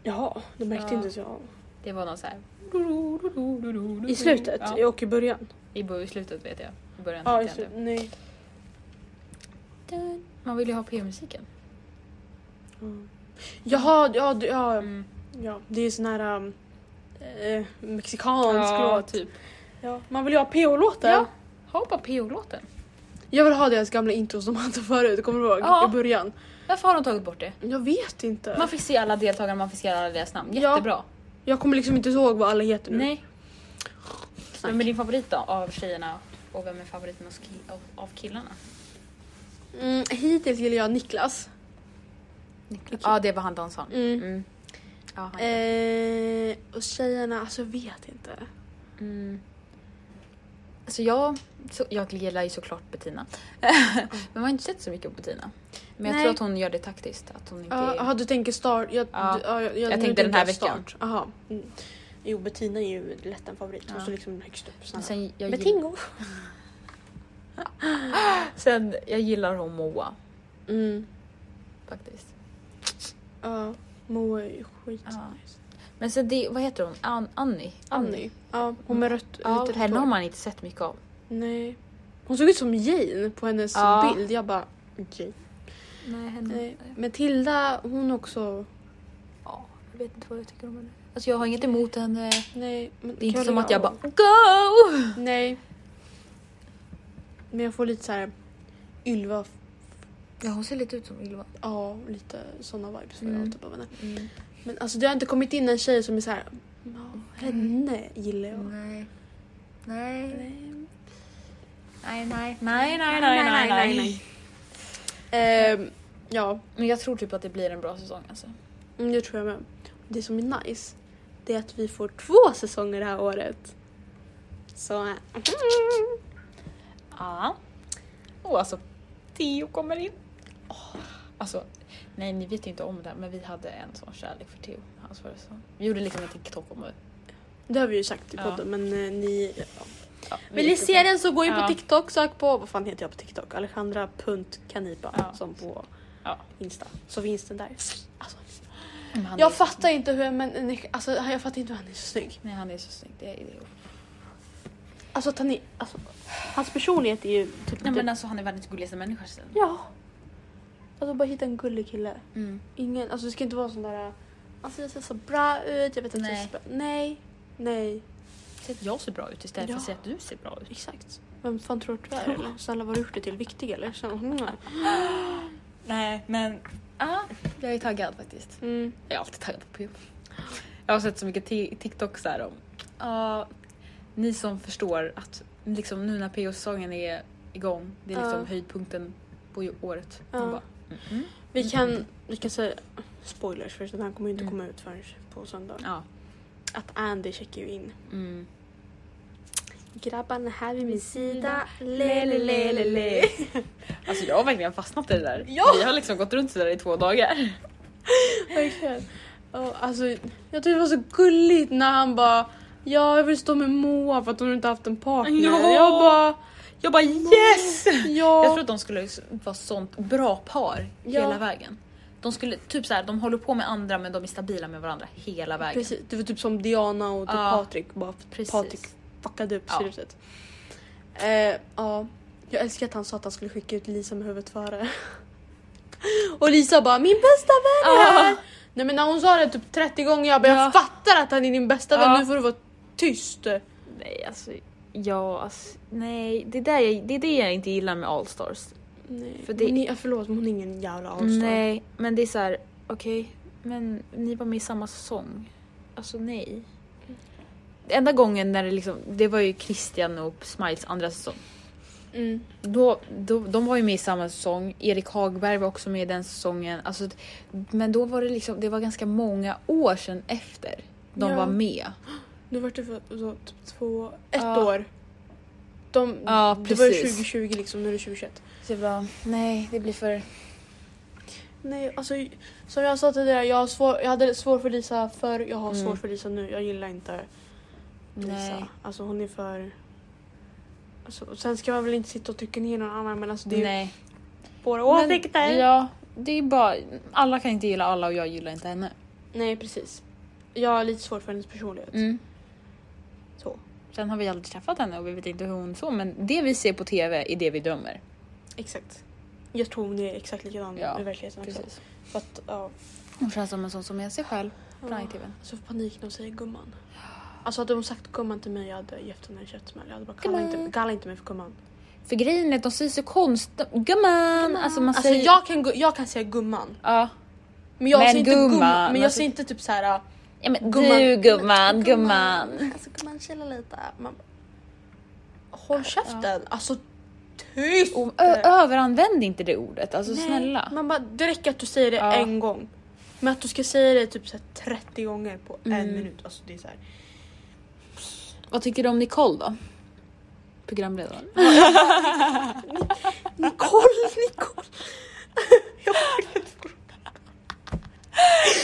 [SPEAKER 3] Jaha, det märkte
[SPEAKER 2] Ja.
[SPEAKER 3] inte så jag.
[SPEAKER 2] Det var någon så här...
[SPEAKER 3] I slutet
[SPEAKER 2] Ja,
[SPEAKER 3] och i början.
[SPEAKER 2] i, bo- i slutet vet jag. I början
[SPEAKER 3] Ja, i
[SPEAKER 2] tänkte jag
[SPEAKER 3] slutet. Nej.
[SPEAKER 2] inte. Man vill ju ha PO-musiken.
[SPEAKER 3] Jaha, ja, du- ja,
[SPEAKER 2] Mm.
[SPEAKER 3] ja. Det är ju sån här um, eh, mexikansk låt.
[SPEAKER 2] typ.
[SPEAKER 3] Ja. Man vill ju ha PH-låtar.
[SPEAKER 2] Ja. Ha bara PO-låten.
[SPEAKER 3] Jag vill ha deras gamla intro som han tog förut, kommer du ihåg?
[SPEAKER 2] Ja.
[SPEAKER 3] I början.
[SPEAKER 2] Varför har de tagit bort det?
[SPEAKER 3] Jag vet inte.
[SPEAKER 2] Man fick se alla deltagare, man fick se alla deras namn.
[SPEAKER 3] Ja.
[SPEAKER 2] Jättebra.
[SPEAKER 3] Jag kommer liksom inte ihåg vad alla heter nu.
[SPEAKER 2] Nej. Vem är din favorit då av tjejerna? Och vem är favoriten av, ski- av, av killarna?
[SPEAKER 3] Mm, hittills gillar jag Niklas.
[SPEAKER 2] Ja, ah, det var han dansaren.
[SPEAKER 3] Mm.
[SPEAKER 2] Mm. Ja, han-
[SPEAKER 3] Eh, och tjejerna, alltså jag vet inte.
[SPEAKER 2] Mm. Alltså jag, så, jag gillar ju såklart Bettina. <laughs> Men man har inte sett så mycket på Bettina. Men jag
[SPEAKER 3] Nej.
[SPEAKER 2] tror att hon gör det taktiskt. Att hon inte
[SPEAKER 3] Ja,
[SPEAKER 2] är...
[SPEAKER 3] Jaha, du tänker start? Jag,
[SPEAKER 2] Ja.
[SPEAKER 3] du, ja, jag,
[SPEAKER 2] Jag
[SPEAKER 3] nu
[SPEAKER 2] tänkte
[SPEAKER 3] tänker
[SPEAKER 2] den här
[SPEAKER 3] jag
[SPEAKER 2] veckan.
[SPEAKER 3] Start. Aha. Mm. Jo, Bettina är ju lätt en favorit. Hon
[SPEAKER 2] Ja.
[SPEAKER 3] står liksom högst upp.
[SPEAKER 2] Men
[SPEAKER 3] Snälla.
[SPEAKER 2] sen, jag
[SPEAKER 3] Med
[SPEAKER 2] gill...
[SPEAKER 3] Tingo.
[SPEAKER 2] sen jag gillar hon Moa
[SPEAKER 3] Mm.
[SPEAKER 2] faktiskt.
[SPEAKER 3] Ja, Moa är ju skit.
[SPEAKER 2] Ja. Men sen det, vad heter hon? An- Annie?
[SPEAKER 3] Annie. Ja, hon med rött,
[SPEAKER 2] Ja, typ
[SPEAKER 3] lite rött
[SPEAKER 2] henne
[SPEAKER 3] hår.
[SPEAKER 2] har man inte sett mycket av.
[SPEAKER 3] Nej. Hon såg ut som Jane på hennes
[SPEAKER 2] Ja.
[SPEAKER 3] bild. Jag bara... Jane.
[SPEAKER 2] Nej, henne.
[SPEAKER 3] Nej. Matilda, hon också...
[SPEAKER 2] Ja, jag vet inte vad jag tycker om henne. Alltså jag har inget emot henne.
[SPEAKER 3] Nej. Men
[SPEAKER 2] Det är inte
[SPEAKER 3] kan
[SPEAKER 2] som
[SPEAKER 3] lägga
[SPEAKER 2] att jag
[SPEAKER 3] av?
[SPEAKER 2] bara GO!
[SPEAKER 3] Nej. Men jag får lite så här Ylva,
[SPEAKER 2] Ja, hon ser lite ut som Ylva.
[SPEAKER 3] ja lite såna vibes får
[SPEAKER 2] Mm.
[SPEAKER 3] jag typ av henne.
[SPEAKER 2] Mm.
[SPEAKER 3] Men alltså det har inte kommit in en tjej som är så här, ja henne gillar jag.
[SPEAKER 2] Nej. Nej.
[SPEAKER 3] Nej.
[SPEAKER 2] Nej, nej. Nej, nej, nej, nej, nej.
[SPEAKER 3] Ehm, ja,
[SPEAKER 2] Men jag tror typ att det blir en bra säsong alltså.
[SPEAKER 3] mm, det tror jag med. Det som är nice, det är att vi får två säsonger det här året. Så, eh,
[SPEAKER 2] Ja. Och alltså, Theo kommer in. Åh, Alltså, nej ni vet ju inte om det men vi hade en sån kärlek för Theo. Hans förra säsong. Vi gjorde liksom en TikTok om det.
[SPEAKER 3] det har vi ju sagt i
[SPEAKER 2] Ja.
[SPEAKER 3] podden men eh, ni... Ja.
[SPEAKER 2] Ja, vi
[SPEAKER 3] Vill ni
[SPEAKER 2] gick upp
[SPEAKER 3] se
[SPEAKER 2] en-
[SPEAKER 3] den så gå in på
[SPEAKER 2] Ja.
[SPEAKER 3] TikTok, sök på, vad fan heter jag på TikTok? Alejandra.canipa
[SPEAKER 2] Ja.
[SPEAKER 3] som på
[SPEAKER 2] Ja.
[SPEAKER 3] Insta. Så finns den där. Alltså,
[SPEAKER 2] Men han är
[SPEAKER 3] jag
[SPEAKER 2] så-
[SPEAKER 3] fattar inte hur en människa, alltså jag fattar inte hur han är så snygg.
[SPEAKER 2] Nej han är så snygg. Det är det.
[SPEAKER 3] Alltså att han är, alltså, hans personlighet är ju typ
[SPEAKER 2] Nej
[SPEAKER 3] inte-
[SPEAKER 2] men alltså han är världens gulligaste människa. sen.
[SPEAKER 3] Ja. Alltså bara hitta en gullig kille.
[SPEAKER 2] Mm.
[SPEAKER 3] Ingen, alltså det ska inte vara sån där, alltså jag ser så bra ut, jag vet att jag
[SPEAKER 2] Nej.
[SPEAKER 3] ser så bra Nej, nej,
[SPEAKER 2] Se att jag ser bra ut istället för
[SPEAKER 3] Ja.
[SPEAKER 2] att se att du ser bra ut.
[SPEAKER 3] exakt. Vem fan tror att du är?
[SPEAKER 2] <laughs>
[SPEAKER 3] eller? Snälla vad har du gjort dig till? Viktig eller? Så, mm.
[SPEAKER 2] Nej men. jag är taggad faktiskt.
[SPEAKER 3] Mm.
[SPEAKER 2] Jag är alltid taggad på PO. Jag har sett så mycket ti- TikToks där om ja, ni som förstår att liksom, nu när PO-säsongen är igång, det är liksom
[SPEAKER 3] Ja.
[SPEAKER 2] höjdpunkten på ju- året.
[SPEAKER 3] Ja.
[SPEAKER 2] Man bara, mm,
[SPEAKER 3] Vi kan, vi kan säga spoilers för den här kommer ju inte
[SPEAKER 2] Mm.
[SPEAKER 3] komma ut förrän på söndag.
[SPEAKER 2] ja,
[SPEAKER 3] Att Andy checkar ju in.
[SPEAKER 2] mm.
[SPEAKER 3] Grabbarna här vid min sida.
[SPEAKER 2] Le, le, le, le, le. Alltså jag har verkligen fastnat i det där.
[SPEAKER 3] Ja.
[SPEAKER 2] Vi har liksom gått runt sådär i två dagar.
[SPEAKER 3] Verkligen. Ja, alltså, jag tyckte det var så gulligt när han bara Ja, jag vill stå med Moa för att hon inte haft en partner.
[SPEAKER 2] Ja.
[SPEAKER 3] Jag bara
[SPEAKER 2] Jag bara yes!
[SPEAKER 3] ja.
[SPEAKER 2] Jag tror att de skulle vara sånt bra par
[SPEAKER 3] Ja.
[SPEAKER 2] hela vägen. De skulle typ såhär, de håller på med andra men de är stabila med varandra hela vägen.
[SPEAKER 3] Precis, det var typ som Diana och typ
[SPEAKER 2] Ja,
[SPEAKER 3] Patrik. Bara för att
[SPEAKER 2] precis.
[SPEAKER 3] Patrik fuckade upp
[SPEAKER 2] Ja.
[SPEAKER 3] slutet. Eh, ja. Jag älskar att han sa att han skulle skicka ut Lisa med huvudet före. <laughs> och Lisa bara min bästa vän är
[SPEAKER 2] Ja.
[SPEAKER 3] här! Nej men när hon sa det typ 30 gånger jag bara jag fattar att han är din bästa vän
[SPEAKER 2] Ja.
[SPEAKER 3] nu får du vara tyst.
[SPEAKER 2] Nej, alltså... Ja, alltså, nej. Det, där jag, det är det jag inte gillar med Allstars.
[SPEAKER 3] Nej.
[SPEAKER 2] För det-
[SPEAKER 3] Hon är, förlåt men hon är ingen jävla allstar.
[SPEAKER 2] Nej, men det är så här, okej. Men ni var med i samma säsong. Alltså nej. Enda gången när det liksom, det var ju Christian och Smiles andra säsong.
[SPEAKER 3] Mm.
[SPEAKER 2] Då, då, de var ju med i samma säsong. Erik Hagberg var också med i den säsongen. Alltså, men då var det liksom, det var ganska många år sedan efter de
[SPEAKER 3] Ja.
[SPEAKER 2] var med.
[SPEAKER 3] Nu vart det för så, typ två, ett
[SPEAKER 2] Ja.
[SPEAKER 3] år. De,
[SPEAKER 2] Ja,
[SPEAKER 3] det var ju
[SPEAKER 2] precis.
[SPEAKER 3] 2020 liksom, nu är det 2021.
[SPEAKER 2] Så jag bara, nej det blir för...
[SPEAKER 3] Nej, alltså som jag sa tidigare, jag, har svår, jag hade svårt för Lisa förr, jag har
[SPEAKER 2] Mm.
[SPEAKER 3] svårt för Lisa nu. Jag gillar inte Lisa.
[SPEAKER 2] Nej.
[SPEAKER 3] Alltså hon är för... Alltså, sen ska jag väl inte sitta och tycka ner någon annan men alltså det är ju
[SPEAKER 2] nej.
[SPEAKER 3] våra
[SPEAKER 2] Men-
[SPEAKER 3] åsikter.
[SPEAKER 2] Ja, det är bara, alla kan inte gilla alla och jag gillar inte henne.
[SPEAKER 3] Nej precis. Jag har lite svårt för hennes personlighet.
[SPEAKER 2] Mm.
[SPEAKER 3] Så.
[SPEAKER 2] Sen har vi aldrig träffat henne och vi vet inte hur hon så men det vi ser på TV är det vi dömer.
[SPEAKER 3] Exakt. Jag tror hon är exakt likadan
[SPEAKER 2] Ja,
[SPEAKER 3] i verkligheten också.
[SPEAKER 2] Precis.
[SPEAKER 3] För att, ja.
[SPEAKER 2] Hon känns som en sån som är sig själv. Bra i
[SPEAKER 3] ja.
[SPEAKER 2] TVn.
[SPEAKER 3] Så får panik när hon säger gumman. Alltså hade hon sagt gumman till mig jag hade gett henne en käftsmäll. Jag hade bara kalla inte, kalla inte mig för gumman.
[SPEAKER 2] För grejen är att de säger så konstigt. Gumman! Alltså man
[SPEAKER 3] Alltså
[SPEAKER 2] säger...
[SPEAKER 3] jag kan, gu- jag kan säga gumman.
[SPEAKER 2] Ja.
[SPEAKER 3] Men jag
[SPEAKER 2] Men
[SPEAKER 3] säger inte gumman.
[SPEAKER 2] gumman,
[SPEAKER 3] men jag
[SPEAKER 2] alltså-
[SPEAKER 3] säger inte typ så här.
[SPEAKER 2] ja men
[SPEAKER 3] Gumman.
[SPEAKER 2] du gumman, gumman.
[SPEAKER 3] Alltså gumman chilla lite. Man... Håll käften. Alltså tyst!
[SPEAKER 2] Och ö- överanvänd inte det ordet, alltså
[SPEAKER 3] Nej,
[SPEAKER 2] snälla.
[SPEAKER 3] Man bara, det räcker att du säger det
[SPEAKER 2] Ja.
[SPEAKER 3] en gång. Men att du ska säga det typ så här 30 gånger på en
[SPEAKER 2] Mm.
[SPEAKER 3] minut. Alltså det är så här.
[SPEAKER 2] Vad tycker du om Nicole då? <laughs> Programledaren.
[SPEAKER 3] Nicole, <laughs> Nicole!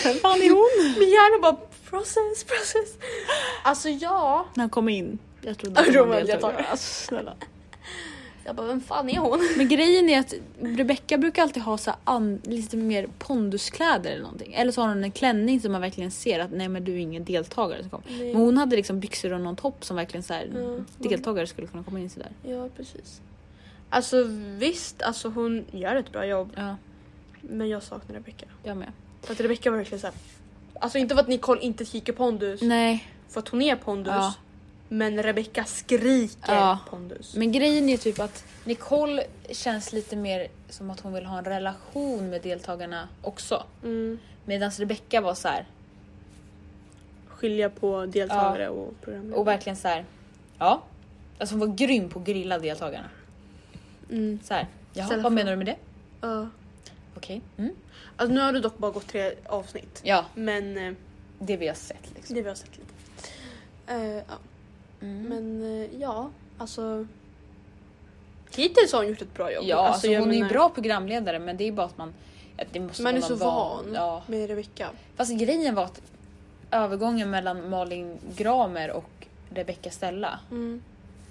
[SPEAKER 2] Vem fan är hon?
[SPEAKER 3] Min hjärna bara process, process. Alltså ja.
[SPEAKER 2] När han kom in. Jag trodde
[SPEAKER 3] Jag
[SPEAKER 2] att
[SPEAKER 3] tror
[SPEAKER 2] hon var
[SPEAKER 3] jag
[SPEAKER 2] deltagare.
[SPEAKER 3] tar.
[SPEAKER 2] Alltså snälla.
[SPEAKER 3] Jag bara, vem fan är hon? <laughs>
[SPEAKER 2] Men grejen är att Rebecca brukar alltid ha så här an, lite mer ponduskläder eller någonting. Eller så har hon en klänning som man verkligen ser att nej men du är ingen deltagare som kom. Men hon hade liksom byxor och någon topp som verkligen så här,
[SPEAKER 3] Ja,
[SPEAKER 2] deltagare skulle kunna komma in sådär.
[SPEAKER 3] Ja, precis. Alltså visst, alltså hon gör ett bra jobb.
[SPEAKER 2] Ja,
[SPEAKER 3] Men jag saknar Rebecca.
[SPEAKER 2] jag med.
[SPEAKER 3] För att Rebecca var verkligen såhär. Alltså inte för att Nicole inte skriker pondus.
[SPEAKER 2] Nej,
[SPEAKER 3] För att hon är pondus.
[SPEAKER 2] Ja.
[SPEAKER 3] Men Rebecca skriker
[SPEAKER 2] Ja.
[SPEAKER 3] pondus.
[SPEAKER 2] men grejen är typ att Nicole känns lite mer som att hon vill ha en relation med deltagarna också.
[SPEAKER 3] Mm.
[SPEAKER 2] Medan Rebecca var så här
[SPEAKER 3] Skilja på deltagare och programledare.
[SPEAKER 2] och verkligen så här. ja. Alltså hon var grym på att grilla deltagarna.
[SPEAKER 3] Mm.
[SPEAKER 2] Så här, jaha,
[SPEAKER 3] Ställa
[SPEAKER 2] vad menar
[SPEAKER 3] frågor.
[SPEAKER 2] du med det?
[SPEAKER 3] Ja.
[SPEAKER 2] Okej, mm.
[SPEAKER 3] Alltså, nu har du dock bara gått tre avsnitt.
[SPEAKER 2] ja.
[SPEAKER 3] Men eh,
[SPEAKER 2] det vi har sett. Liksom.
[SPEAKER 3] det vi har sett lite. Eh, ja.
[SPEAKER 2] Mm.
[SPEAKER 3] Men eh, ja, alltså. Hittills har hon gjort ett bra jobb.
[SPEAKER 2] Ja, alltså,
[SPEAKER 3] jag
[SPEAKER 2] hon är
[SPEAKER 3] menar-
[SPEAKER 2] ju bra programledare men det är bara att man... Att det måste
[SPEAKER 3] Man är
[SPEAKER 2] vara
[SPEAKER 3] så van
[SPEAKER 2] Ja.
[SPEAKER 3] med Rebecca.
[SPEAKER 2] Fast grejen var att övergången mellan Malin Gramer och Rebecca Stella
[SPEAKER 3] Mm.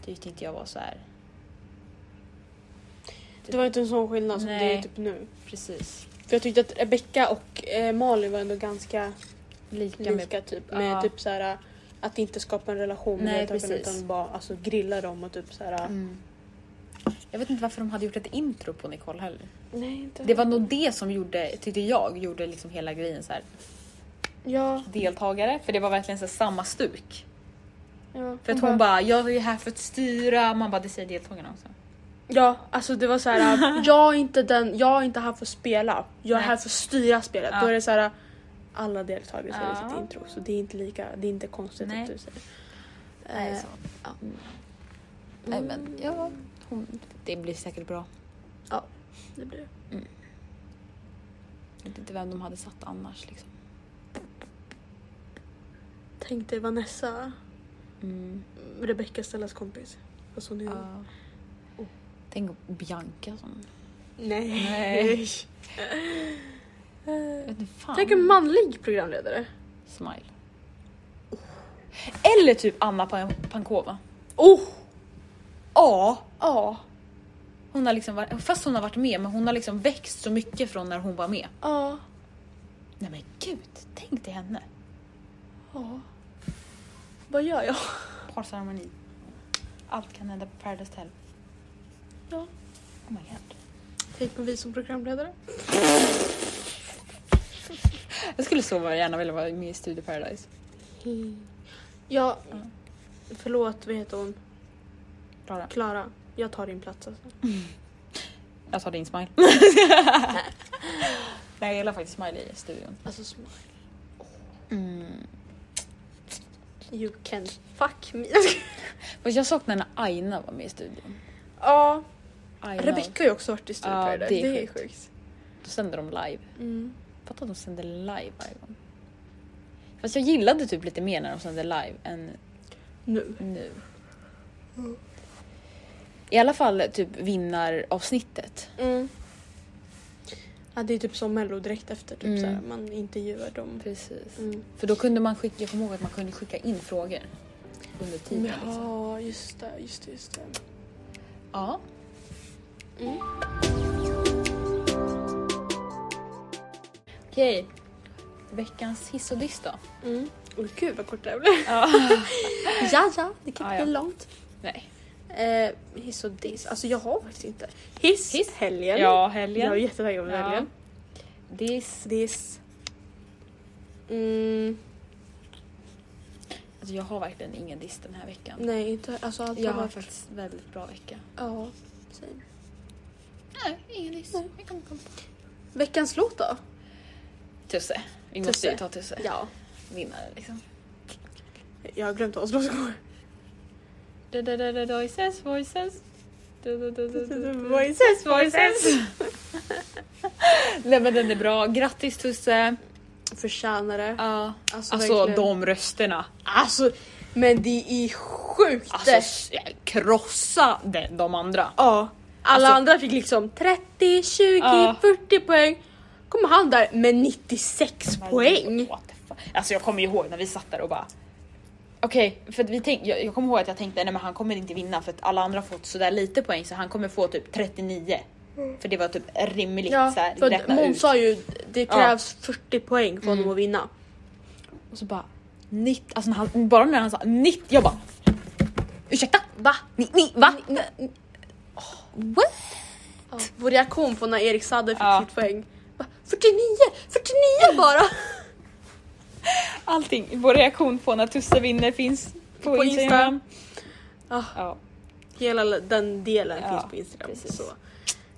[SPEAKER 2] tyckte inte jag var så här.
[SPEAKER 3] Det var inte en sån skillnad som det är
[SPEAKER 2] Nej.
[SPEAKER 3] typ nu.
[SPEAKER 2] Precis.
[SPEAKER 3] För jag tyckte att Rebecca och eh, Malin var ändå ganska
[SPEAKER 2] Lika, med...
[SPEAKER 3] lika typ. Med
[SPEAKER 2] Ja.
[SPEAKER 3] typ så här, att inte skapa en relation med
[SPEAKER 2] Nej,
[SPEAKER 3] deltagarna
[SPEAKER 2] precis.
[SPEAKER 3] utan bara alltså, grilla dem och typ så här.
[SPEAKER 2] Mm. Jag vet inte varför de hade gjort ett intro på Nicole heller.
[SPEAKER 3] Nej, inte
[SPEAKER 2] Det var nog det som gjorde, tyckte jag, gjorde liksom hela grejen så här.
[SPEAKER 3] Ja,
[SPEAKER 2] Deltagare, för det var verkligen så här samma stuk.
[SPEAKER 3] ja.
[SPEAKER 2] För att hon bara, jag är här för att styra. Man bara, det säger deltagarna också.
[SPEAKER 3] Ja, alltså det var så här.
[SPEAKER 2] <laughs>
[SPEAKER 3] jag är inte den, jag är inte här för att spela. Jag är
[SPEAKER 2] Nej.
[SPEAKER 3] här för att styra spelet.
[SPEAKER 2] Ja.
[SPEAKER 3] Då är det så här. Alla deltagare säger
[SPEAKER 2] Ja.
[SPEAKER 3] sitt intro så det är inte lika, det är inte konstigt
[SPEAKER 2] Nej.
[SPEAKER 3] att du säger.
[SPEAKER 2] Nej,
[SPEAKER 3] Eh,
[SPEAKER 2] så. Mm. Nej men ja, hon, det blir säkert bra.
[SPEAKER 3] det blir det.
[SPEAKER 2] Jag vet inte vem de hade satt annars liksom.
[SPEAKER 3] Tänk dig Vanessa,
[SPEAKER 2] Mm.
[SPEAKER 3] Rebecca Stellas kompis. Fast hon är
[SPEAKER 2] Ja. Oh, Tänk om Bianca som...
[SPEAKER 3] Nej. <laughs>
[SPEAKER 2] Nej.
[SPEAKER 3] Eh,
[SPEAKER 2] Jag vet inte fan.
[SPEAKER 3] Tänk en manlig programledare.
[SPEAKER 2] Smile. Eller typ Anna Pan- Pankova.
[SPEAKER 3] Oh!
[SPEAKER 2] Ja!
[SPEAKER 3] Ja.
[SPEAKER 2] Hon har liksom varit, fast hon har varit med men hon har liksom växt så mycket från när hon var med.
[SPEAKER 3] Ja.
[SPEAKER 2] Nej men gud, tänk dig henne.
[SPEAKER 3] Ja. Vad gör jag?
[SPEAKER 2] Parceremoni. Allt kan hända på Paradise Hotel.
[SPEAKER 3] Ja.
[SPEAKER 2] Oh my god.
[SPEAKER 3] Tänk på vi som programledare.
[SPEAKER 2] Jag skulle så gärna vilja vara med i Studio Paradise.
[SPEAKER 3] Ja. Förlåt, vad heter hon?
[SPEAKER 2] Klara,
[SPEAKER 3] Klara. Jag
[SPEAKER 2] <laughs>
[SPEAKER 3] tar din plats alltså.
[SPEAKER 2] jag tar din smile. Nej jag gillar faktiskt Smiley i studion.
[SPEAKER 3] Alltså smile.
[SPEAKER 2] Mm.
[SPEAKER 3] You can fuck <laughs> me.
[SPEAKER 2] Fast jag saknar när Aina var med i studion.
[SPEAKER 3] ja,
[SPEAKER 2] Aina.
[SPEAKER 3] Rebecca har ju också varit i Studio
[SPEAKER 2] Ja,
[SPEAKER 3] Paradise.
[SPEAKER 2] det är
[SPEAKER 3] Det är
[SPEAKER 2] sjukt.
[SPEAKER 3] sjukt.
[SPEAKER 2] Då sände de live.
[SPEAKER 3] Mm.
[SPEAKER 2] Fattar att de sände live varje gång. Fast jag gillade typ lite mer när de sände live än
[SPEAKER 3] Nu.
[SPEAKER 2] nu. I alla fall typ vinnaravsnittet.
[SPEAKER 3] Mm. Ja, det är typ som mello direkt efter. Typ,
[SPEAKER 2] Mm.
[SPEAKER 3] såhär, man intervjuar dem.
[SPEAKER 2] Precis.
[SPEAKER 3] Mm.
[SPEAKER 2] För då kunde man skicka, jag kommer ihåg att man kunde skicka in frågor under tiden. Liksom.
[SPEAKER 3] Ja, just det. Just det, just det.
[SPEAKER 2] Ja.
[SPEAKER 3] Mm.
[SPEAKER 2] Okej. Veckans hiss och diss då?
[SPEAKER 3] Mm. Och gud vad kort det här blev.
[SPEAKER 2] Ja.
[SPEAKER 3] ja, Ah, ja, det kan
[SPEAKER 2] Ja,
[SPEAKER 3] inte
[SPEAKER 2] ja.
[SPEAKER 3] bli långt.
[SPEAKER 2] <laughs> Nej.
[SPEAKER 3] Eh, hiss och diss. Alltså jag har faktiskt inte. Hiss,
[SPEAKER 2] Hiss. Ja,
[SPEAKER 3] helgen. Jag är
[SPEAKER 2] helgen.
[SPEAKER 3] jättetaggad på
[SPEAKER 2] Ja.
[SPEAKER 3] helgen.
[SPEAKER 2] Diss.
[SPEAKER 3] Diss. Mm,
[SPEAKER 2] Alltså jag har verkligen ingen diss den här veckan.
[SPEAKER 3] nej, inte, alltså allt
[SPEAKER 2] Jag
[SPEAKER 3] har
[SPEAKER 2] har
[SPEAKER 3] varit...
[SPEAKER 2] faktiskt en väldigt bra vecka.
[SPEAKER 3] Ja, same.
[SPEAKER 2] Nej, ingen diss.
[SPEAKER 3] Nej.
[SPEAKER 2] Jag kan komma.
[SPEAKER 3] Veckans låt då?
[SPEAKER 2] Tusse. Vi måste
[SPEAKER 3] Tusse.
[SPEAKER 2] ju ta Tusse.
[SPEAKER 3] Ja.
[SPEAKER 2] Vinnare liksom.
[SPEAKER 3] Jag har glömt vad Oslos går.
[SPEAKER 2] Voices, voices. <laughs>
[SPEAKER 3] Voices,
[SPEAKER 2] Voices. <laughs> Nej men den är bra. Grattis Tusse.
[SPEAKER 3] Förtjänar det.
[SPEAKER 2] Ja.
[SPEAKER 3] Alltså,
[SPEAKER 2] Alltså
[SPEAKER 3] verkligen.
[SPEAKER 2] de rösterna.
[SPEAKER 3] Alltså, men det är sjukt!
[SPEAKER 2] Alltså s- krossa de, de andra.
[SPEAKER 3] ja. Alla
[SPEAKER 2] Alltså-
[SPEAKER 3] andra fick liksom 30, 20,
[SPEAKER 2] Ja.
[SPEAKER 3] 40 poäng. Kommer han där med 96 poäng.
[SPEAKER 2] What the fuck? Alltså jag kommer ju ihåg när vi satt där och bara Okej, för att vi tänk, jag, jag kommer ihåg att jag tänkte nej men han kommer inte vinna för att alla andra har fått sådär lite poäng så han kommer få typ 39. För det var typ rimligt så här,
[SPEAKER 3] Mm. för att
[SPEAKER 2] räkna
[SPEAKER 3] Måns
[SPEAKER 2] ut.
[SPEAKER 3] sa ju det
[SPEAKER 2] Ja. Mm.
[SPEAKER 3] krävs 40 poäng för honom att vinna.
[SPEAKER 2] Och så bara 90, alltså när han, bara när han sa 90, jag bara ursäkta? Va? Ni, ni, va? Oh, What?
[SPEAKER 3] Ja. Vår reaktion på när Erik Saade fick
[SPEAKER 2] Ja.
[SPEAKER 3] sitt poäng. Va? 49!
[SPEAKER 2] <laughs>
[SPEAKER 3] 49 bara!
[SPEAKER 2] Allting, vår reaktion på när Tusse vinner finns på,
[SPEAKER 3] På Insta.
[SPEAKER 2] Instagram.
[SPEAKER 3] Ja.
[SPEAKER 2] Ja.
[SPEAKER 3] Ah, Hela den delen
[SPEAKER 2] Ja,
[SPEAKER 3] finns på Instagram.
[SPEAKER 2] precis.
[SPEAKER 3] Så.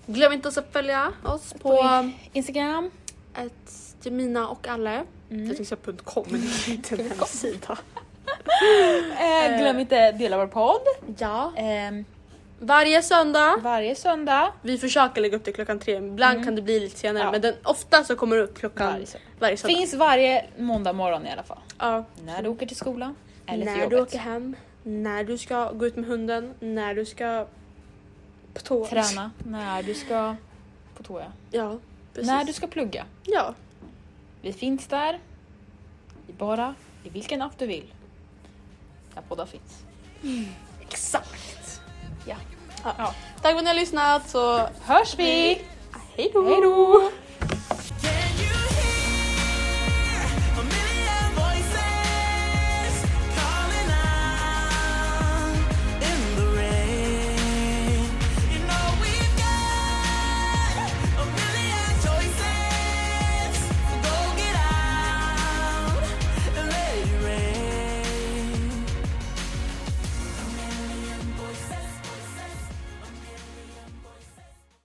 [SPEAKER 3] Glöm inte att följa oss på,
[SPEAKER 2] På Instagram.
[SPEAKER 3] ett Jemina och Alle.
[SPEAKER 2] Mm.
[SPEAKER 3] Jag tänkte säga .com men det
[SPEAKER 2] <laughs>
[SPEAKER 3] är inte en hemsida.
[SPEAKER 2] Eh, glöm inte dela vår podd.
[SPEAKER 3] Ja.
[SPEAKER 2] Ehm,
[SPEAKER 3] Varje söndag.
[SPEAKER 2] varje söndag.
[SPEAKER 3] Vi försöker lägga upp det klockan tre, ibland kan det bli lite senare
[SPEAKER 2] Mm. Ja.
[SPEAKER 3] men den, ofta så kommer det upp klockan
[SPEAKER 2] Varje söndag.
[SPEAKER 3] varje söndag.
[SPEAKER 2] Finns varje måndag morgon i alla fall.
[SPEAKER 3] Ja.
[SPEAKER 2] När du åker till skolan. Eller till
[SPEAKER 3] När du
[SPEAKER 2] jobbet.
[SPEAKER 3] åker hem, när du ska gå ut med hunden, när du ska på toa.
[SPEAKER 2] Träna. När du ska på toa.
[SPEAKER 3] Ja, precis.
[SPEAKER 2] När du ska plugga.
[SPEAKER 3] Ja.
[SPEAKER 2] Vi finns där. I bara i vilken app du vill. Där poddar finns.
[SPEAKER 3] Exakt.
[SPEAKER 2] Ja.
[SPEAKER 3] Tack för att ni har lyssnat så
[SPEAKER 2] Hörs vi!
[SPEAKER 3] hej då!
[SPEAKER 2] Hej då!